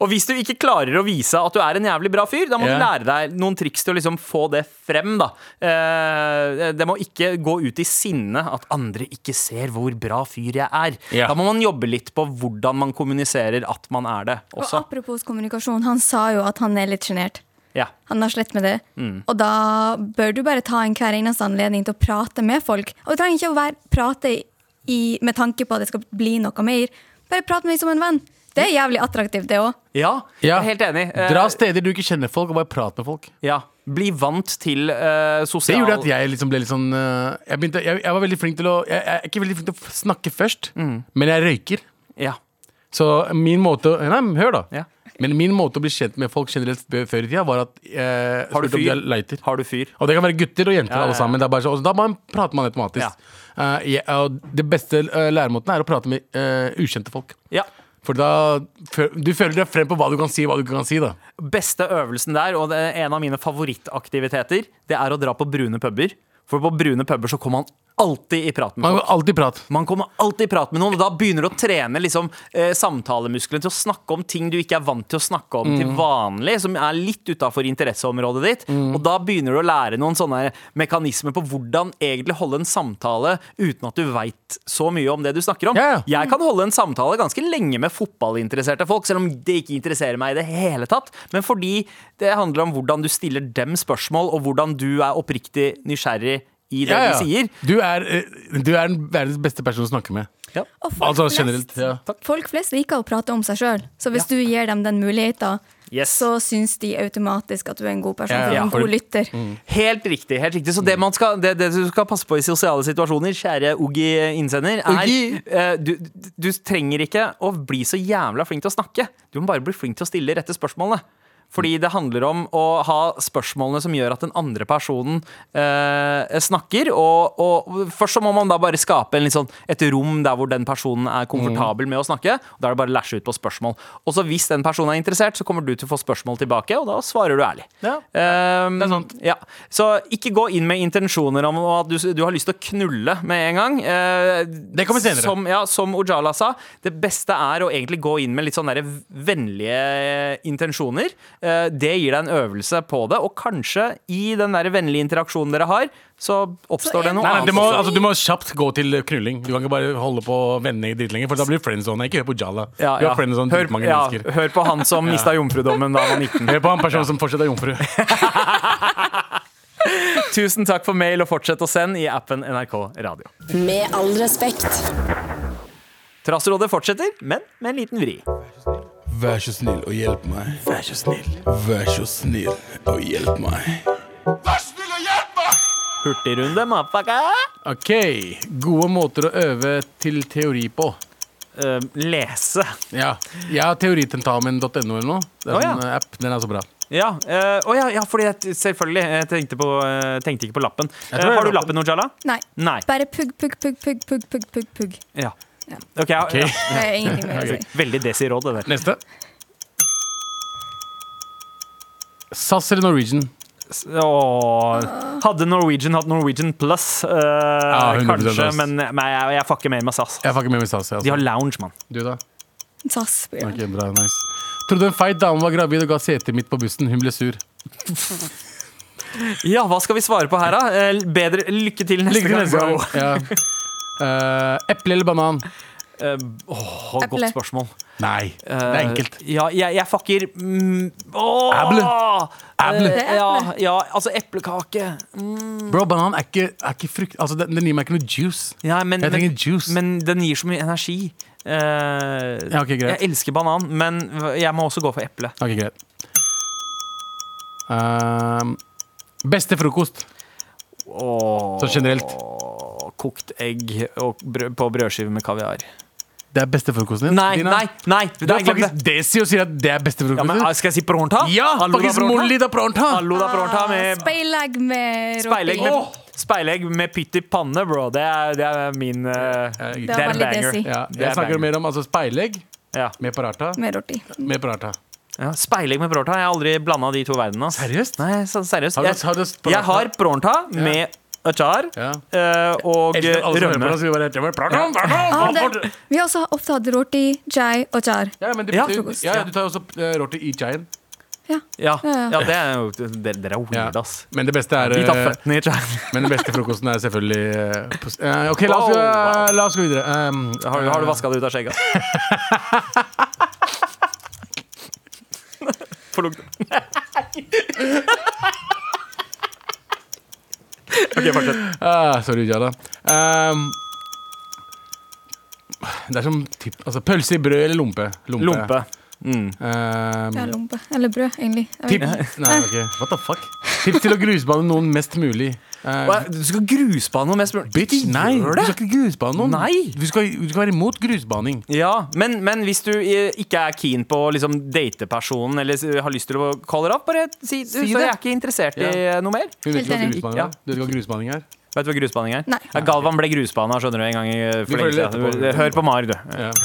Og hvis du ikke klarer å vise at du er en jævlig bra fyr, da må
Ja.
du lære deg noen triks til å liksom få det frem, da. Eh, det må ikke gå ut i sinne at andre ikke ser hvor bra fyr jeg er.
Ja.
Da må man jobbe litt på hvordan man kommuniserer at man er det
og
også.
apropos kommunikasjon, han sa jo at han er litt sjenert.
Ja.
Han har slett med det.
Mm.
Og da bør du bare ta en hver eneste anledning til å prate med folk. Og du trenger ikke å være, prate i, med tanke på at det skal bli noe mer. Bare prat med dem som en venn. Det er jævlig attraktivt, det òg.
ja, jeg
Ja.
er helt enig. Eh,
Dra steder du ikke kjenner folk, og bare prat med folk.
ja. Bli vant til eh,
Det
sosial
gjorde at jeg liksom ble litt sånn øh, jeg, begynte, jeg, jeg var veldig flink til å jeg, jeg er ikke veldig flink til å snakke først,
Mm.
men jeg røyker.
Ja.
Så min måte å- Nei, men hør da.
Ja.
Men min måte å bli kjent med folk generelt før før i tida, var at eh,
Har du
spurte om
fyr?
de er lighter.
Har du fyr?
Og det kan være gutter og jenter,
ja, ja.
alle sammen. Det er bare så, og da man prater man automatisk.
Ja.
Eh, jeg- og det beste eh, læremåten er å prate med eh, ukjente folk.
Ja.
For da fø- du føler deg frem på hva du kan si, hva du ikke kan si. da
beste øvelsen der, og det er en av mine favorittaktiviteter, det er å dra på brune puber. For på brune puber så kommer man alltid i prat med
Man
folk.
kan alltid prate.
Man kommer alltid i prat med noen, og da begynner du å trene liksom, eh, samtalemuskelen til å snakke om ting du ikke er vant til å snakke om
Mm.
til vanlig, som er litt utafor interesseområdet ditt. Og da begynner du å lære noen sånne mekanismer på hvordan egentlig holde en samtale uten at du veit så mye om det du snakker om.
Ja, ja.
Jeg kan holde en samtale ganske lenge med fotballinteresserte folk, selv om det ikke interesserer meg i det hele tatt. Men fordi det handler om hvordan du stiller dem spørsmål, og hvordan du er oppriktig nysgjerrig i det
Ja, ja.
de sier.
Du er, eh, du er den verdens beste person å snakke med.
Og folk,
Altså generelt.
flest,
Ja.
folk flest liker å prate om seg sjøl, så hvis du gir dem den muligheten,
Yes.
så syns de automatisk at du er en god person,
Ja,
for du
ja,
er en
for- Mm.
god lytter.
Helt riktig. helt riktig Så det, man skal, det, det du skal passe på i sosiale situasjoner, kjære Oogie-innsender, er
Oogie.
eh, du, du trenger ikke å bli så jævla flink til å snakke. Du må bare bli flink til å stille de rette spørsmålene. Fordi det handler om å ha spørsmålene som gjør at den andre personen eh, snakker. Og, og først så må man da bare skape en litt sånn, et rom der hvor den personen er
Mm.
komfortabel med å snakke. Og da er det bare å læsje ut på spørsmål. Og så hvis den personen er interessert, så kommer du til å få spørsmål tilbake, og da svarer du ærlig.
Ja.
Ehm,
Det er sant.
Ja. Så ikke gå inn med intensjoner om at du, du har lyst til å knulle med en gang. Eh,
Det kommer senere.
Som, ja, som Ojala sa, det beste er å egentlig gå inn med litt sånne der vennlige eh, intensjoner. Eh, det gir deg en øvelse på det, og kanskje i den der vennlige interaksjonen dere har, så
Så
oppstår det
en-
noe
Nei, nei,
annet.
du, må,
også.
altså, du må kjapt gå til knulling. Du kan ikke bare holde på å vende i dritlenge, for da blir friendzone. Ikke hør på Jala.
Ja,
Du
ja.
har friendzone
Hør,
dritmange
ja,
mennesker.
hør på han som mista jomfrudommen da han var 19.
Hør på en person som fortsatt er jomfru.
Tusen takk for mail, og fortsett å sende i appen NRK Radio.
Med all respekt.
Trassrådet fortsetter, men med en liten vri.
Vær så snill og hjelp meg. Vær så snill. Vær så snill og hjelp meg.
Hurtigrunde, motherfucka!
Ok, Gode måter å øve til teori på.
Eh, lese.
Ja, Jeg har teoritentamen.no eller noe. Det
Å,
er
ja.
en app, Den er så bra.
Ja, eh, å ja, ja, fordi jeg, selvfølgelig. Jeg tenkte, på, eh, tenkte ikke på lappen.
tror
Eh,
det er
har du
lappen.
lappen, Ojala?
Nei.
Nei.
Bare pugg, pugg, pugg, pugg, pugg, pugg, pugg, pugg.
Ja. Ok, ja, ja. altså,
Det er ingenting mer å si.
Veldig desi-råd, det der.
Neste. SAS eller Norwegian?
S- Åh. Hadde Norwegian hatt Norwegian Plus, eh, kanskje,
100%
men nei, jeg, jeg fucker mer med SAS.
Jeg fucker med med SAS. jeg,
De har
Altså.
lounge, mann.
Du da?
SAS. Bjørn.
Ok, bra, nice Trodde en feit dame var gravid og ga setet mitt på bussen. Hun ble sur.
Ja, hva skal vi svare på her, da? Eh, bedre lykke til neste
Lykke til neste
gang,
gang.
bro.
Ja. Eh, Eple eller banan?
Eh, Åh, godt
Eple.
spørsmål. Eh,
Nei, det er enkelt.
Ja, jeg, jeg fucker mm, åh!
Æble. Æble.
Eh, ja, ja, altså eplekake. eh,
Bro, banan er ikke, er ikke frukt... Altså, den, den gir meg ikke noe juice.
Ja, men,
Jeg trenger
men,
juice.
men den gir så mye energi. Eh,
Ja, ok, greit.
Jeg elsker banan, men jeg må også gå for eple.
Ok, greit. Ehm, beste frokost?
Åh,
Sånn generelt.
Kokt egg og brød, på brødskive med kaviar.
Det er beste frokosten din?
Nei,
Dina?
nei, nei!
Du
nei
er
glem det.
faktisk desi og sier at det er beste
Ja,
frokosten
men, ah,
din?
skal jeg si pronta?
Ja!
Allo da
Faktisk
pronta?
molli da pronta!
Allo da pronta med
Speilegg med
speilegg med,
råtting.
speilegg med pytt i panne, bro. Det er, det er min eh,
Det
var
Det er en
veldig
banger.
desi.
Ja,
Det er
jeg snakker
banger.
mer om altså, speilegg
Ja.
med paratha.
Med rorti.
Med paratha.
Ja, speilegg med pronta. Jeg har aldri blanda de to verdenene. ass.
Seriøst?
Nei, så, seriøst.
Har du-
Jeg,
har du pronta?
jeg har pronta med achar
Ja.
eh, og
Elsker alle som hører på altså.
rømme.
det, så vi bare heter, "Hva er paratha? Paratha?"
Ah, det, vi har også ofte hatt rorti, chai og char.
Ja, men det
Ja.
betyr, ja, ja, du tar jo også uh, rorti i chaien.
Ja.
Ja,
Ja, ja.
ja, det er jo Dere dere er
Ja.
weird, ass.
Men det beste er
De tar
eh,
føttene i achar.
Men den beste frokosten er selvfølgelig eh, på s- eh, OK, la oss, gå-
Wow, wow.
la oss gå videre. Um,
Har, du- har du
eh,
vaska det ut av skjegget? Få lukte. OK, fortsett.
ah, sorry, Jada. Um, det er som typ, altså, pølse i brød eller lompe. Lompe.
Lompe.
Um,
Ja, lompe. Eller brød, egentlig. Jeg vet
tips
ikke.
Nei, ok. What the fuck? Tips til å grusbane noen mest mulig. Um,
Hva, Du skal grusbane noe mest mulig.
bitch,
Ikke
nei! Du
gjør
skal
det.
ikke grusbane noen.
Nei.
Du skal, du skal være imot grusbaning.
Ja, men, men hvis du eh, ikke er keen på å liksom, date personen eller s- har lyst til å calle opp, bare si, du,
Si
så jeg
det.
er ikke interessert i
Ja.
eh, noe mer.
Hun vet ikke hva
Helt enig.
grusbaning
Ja.
er. Du vet ikke hva grusbaning er?
Vet du hva grusbaning er?
Nei.
Ja, Galvan ble grusbana skjønner du, en gang i eh,
Vi
for lenge
følger
siden.
etterpå.
Hør på Mar, du.
Ja.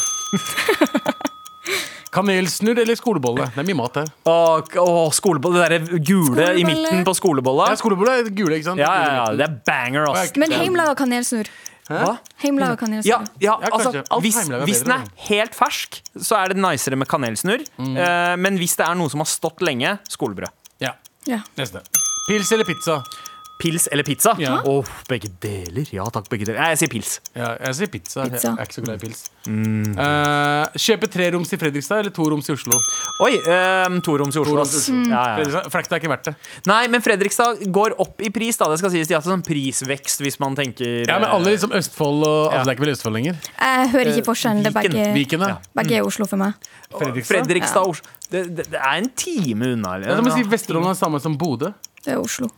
Kanelsnurr eller skolebolle? Det er mye mat her.
Å, k- å, skolebolle. Det derre gule i midten på skolebolla.
Ja, skolebolle er gule, ikke sant?
Ja, ja, ja, det er banger, ass.
Å, jeg-
Men heimlaga kanelsnurr.
Hva?
Heimlaga kanelsnurr.
Ja, ja,
Ja,
altså,
kanskje. Alt
hvis,
heimelaga er
hvis den
bedre, Mm.
er helt fersk, så er det nicere med kanelsnurr. Eh, men hvis det er noe som har stått lenge, skolebrød.
Ja.
Ja.
Neste. Pils eller pizza?
Pils eller pizza?
Ja.
Åh, begge deler. Ja takk, begge deler. Nei, jeg sier pils.
Ja, jeg sier pizza.
Pizza.
Jeg er ikke så glad i pils.
Mm.
Eh, kjøpe tre roms i Fredrikstad eller to roms i Oslo?
Oi, um, toroms i Oslo.
Toroms i
ass.
Oslo. Mm.
Ja, ja, ja.
Fredrikstad, Frakta er ikke verdt det.
Nei, men Fredrikstad går opp i pris, da. Det skal sies. De har hatt sånn prisvekst, hvis man tenker eh,
Ja, men alle liksom Østfold og
Ja.
altså, Det er ikke vel Østfold lenger?
Jeg hører ikke forskjellen. Det er
Viken.
begge,
Viken, da?
begge er Oslo for meg.
Fredrikstad,
Fredrikstad?
og Oslo. Det, det, det er en time unna.
Det er
Eller?
som å si Vesterålen er samme som Bodø.
Det er Oslo.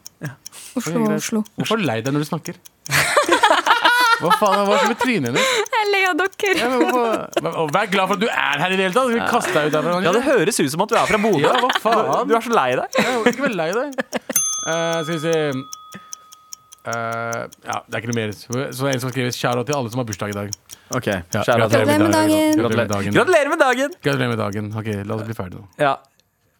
Oslo
Ok,
og
greit.
Oslo.
Hvorfor lei deg når du snakker? Hva faen hva er det med trynet ditt?
Jeg ler av
Ja,
dere.
men hvorfor- Hva- og Vær glad for at du er her i det hele tatt! Skal vi kaste deg ut herfra?
ja, det høres ut som at du er fra Bodø.
Ja, hva faen?
Du er så lei deg.
Jeg er ikke veldig lei deg. Eh, skal vi se Eh, Ja, det er ikke noe mer. Så så det er en som skriver Kjære til alle som har bursdag i dag.
Ok,
Ja,
Skjæra til.
Gratulerer med dagen.
Gratulerer med dagen.
Gratulerer med dagen!
Gratulerer med dagen. Ok, La oss bli ferdig nå.
Ja.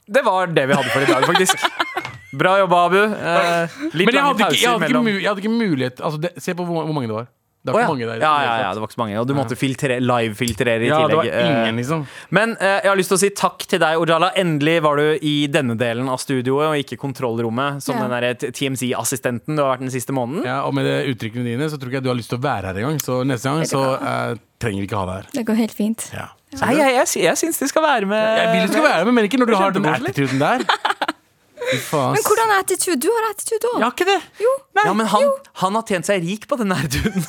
Det var det vi hadde for i dag, faktisk. Bra jobba, Abu. Eh, litt
Men jeg
lange
hadde ikke,
pauser
jeg hadde ikke,
mellom-
mu jeg hadde ikke mulighet altså, det, Se på hvor, hvor mange det var.
Å,
Det var
ja.
ikke mange der.
ja,
i det
ja,
hele
ja,
tatt.
det var ikke så mange. Og du måtte filtre, live-filtrere i
ja, det var
tillegg. Eh,
ingen, liksom.
Men eh, jeg har lyst til å si takk til deg, Ojala. Endelig var du i denne delen av studioet, og ikke kontrollrommet, som
Ja.
den den TMC-assistenten du har vært den siste måneden.
Ja, og med det uttrykkene dine så tror ikke jeg du har lyst til å være her engang. Så neste gang så eh, trenger vi ikke ha deg her.
Det går helt fint.
Ja.
Nei, jeg, jeg, sy- jeg syns de skal være med.
Jeg vil du skal være med, men ikke når du har den
Kjempekoselig.
attituden der. Fy faen.
Men hvordan er attitude? Du har attitude òg.
Jeg har ikke det.
Jo.
ja, men han, han har tjent seg rik på den nerduden.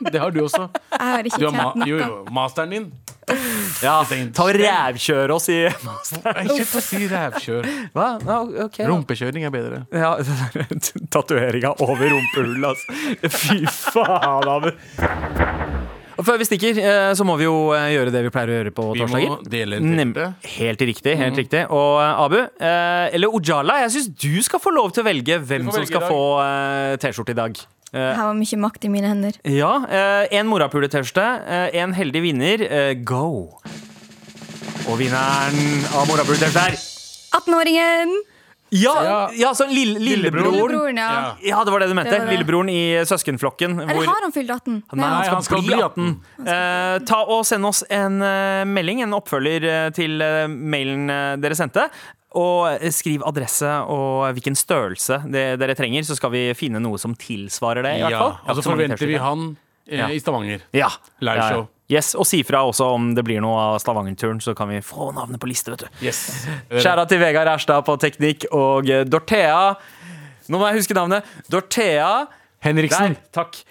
Det har du også.
Jeg har ikke
Du har
tjent
ma jo,
noe.
jo, masteren din.
Ja, ta og rævkjør oss i Masteren.
Nei, Shit, å si rævkjør.
Hva? Ja, ok.
Rumpekjøring er bedre.
Ja, Tatoveringa over rumpehullet, altså. Fy faen, Abu. Og før vi stikker, eh, så må vi jo eh, gjøre det vi pleier å gjøre på
Vi må
torsdager.
dele en
Nem-
telte.
Helt riktig. helt riktig Og eh, Abu, eh, eller Ojala, jeg syns du skal få lov til å velge hvem
får
som
velge
skal
i dag.
få eh, T-skjorte i dag.
Her var mye makt i mine hender.
Ja, eh, en morapule-T-skjorte, eh, en heldig vinner. eh, Go! Og vinneren av morapule-T-skjorte er
18-åringen!
Ja,
Ja.
ja så lille, lillebroren.
Lillebroren, ja.
Ja.
Ja, det var det du mente.
Det var det.
Lillebroren i søskenflokken.
Eller
hvor-
har han fylt 18?
Nei, han skal,
han skal
bli
bli
18. Eh, ta og Send oss en eh, melding, en oppfølger eh, til eh, mailen eh, dere sendte. Og eh, skriv adresse og hvilken størrelse det, dere trenger, så skal vi finne noe som tilsvarer det. i hvert
Ja,
fall.
og så forventer vi han eh,
Ja.
i Stavanger.
ja.
Liveshow.
Ja. Yes, Og si fra også om det blir noe av Stavanger-turen, så kan vi få navnet på liste. vet du
Yes.
Skjæra til Vegard Erstad på teknikk og eh, Dorthea Nå må jeg huske navnet. Dorthea Der,
Henriksen.
takk.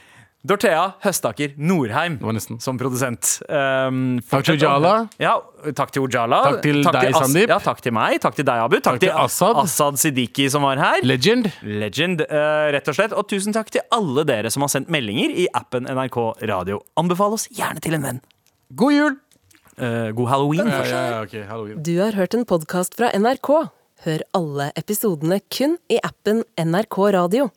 Dorthea Høstaker Norheim
var nesten.
som produsent. Um,
Takk til
fortsett å-
Ojala.
Ja, takk til Ojala.
Takk til deg,
As-
Sandeep.
Ja, takk til meg. Takk til deg, Abu. Takk,
til
til Assad.
Assad.
Assad Siddiqui, som var her.
Legend.
Legend, eh, rett og slett. Og tusen takk til alle dere som har sendt meldinger i appen NRK Radio. Anbefal oss gjerne til en venn.
God jul!
Eh, god halloween.
Ja, ja, ja, ok, halloween.
Du har hørt en podkast fra NRK. Hør alle episodene kun i appen NRK Radio.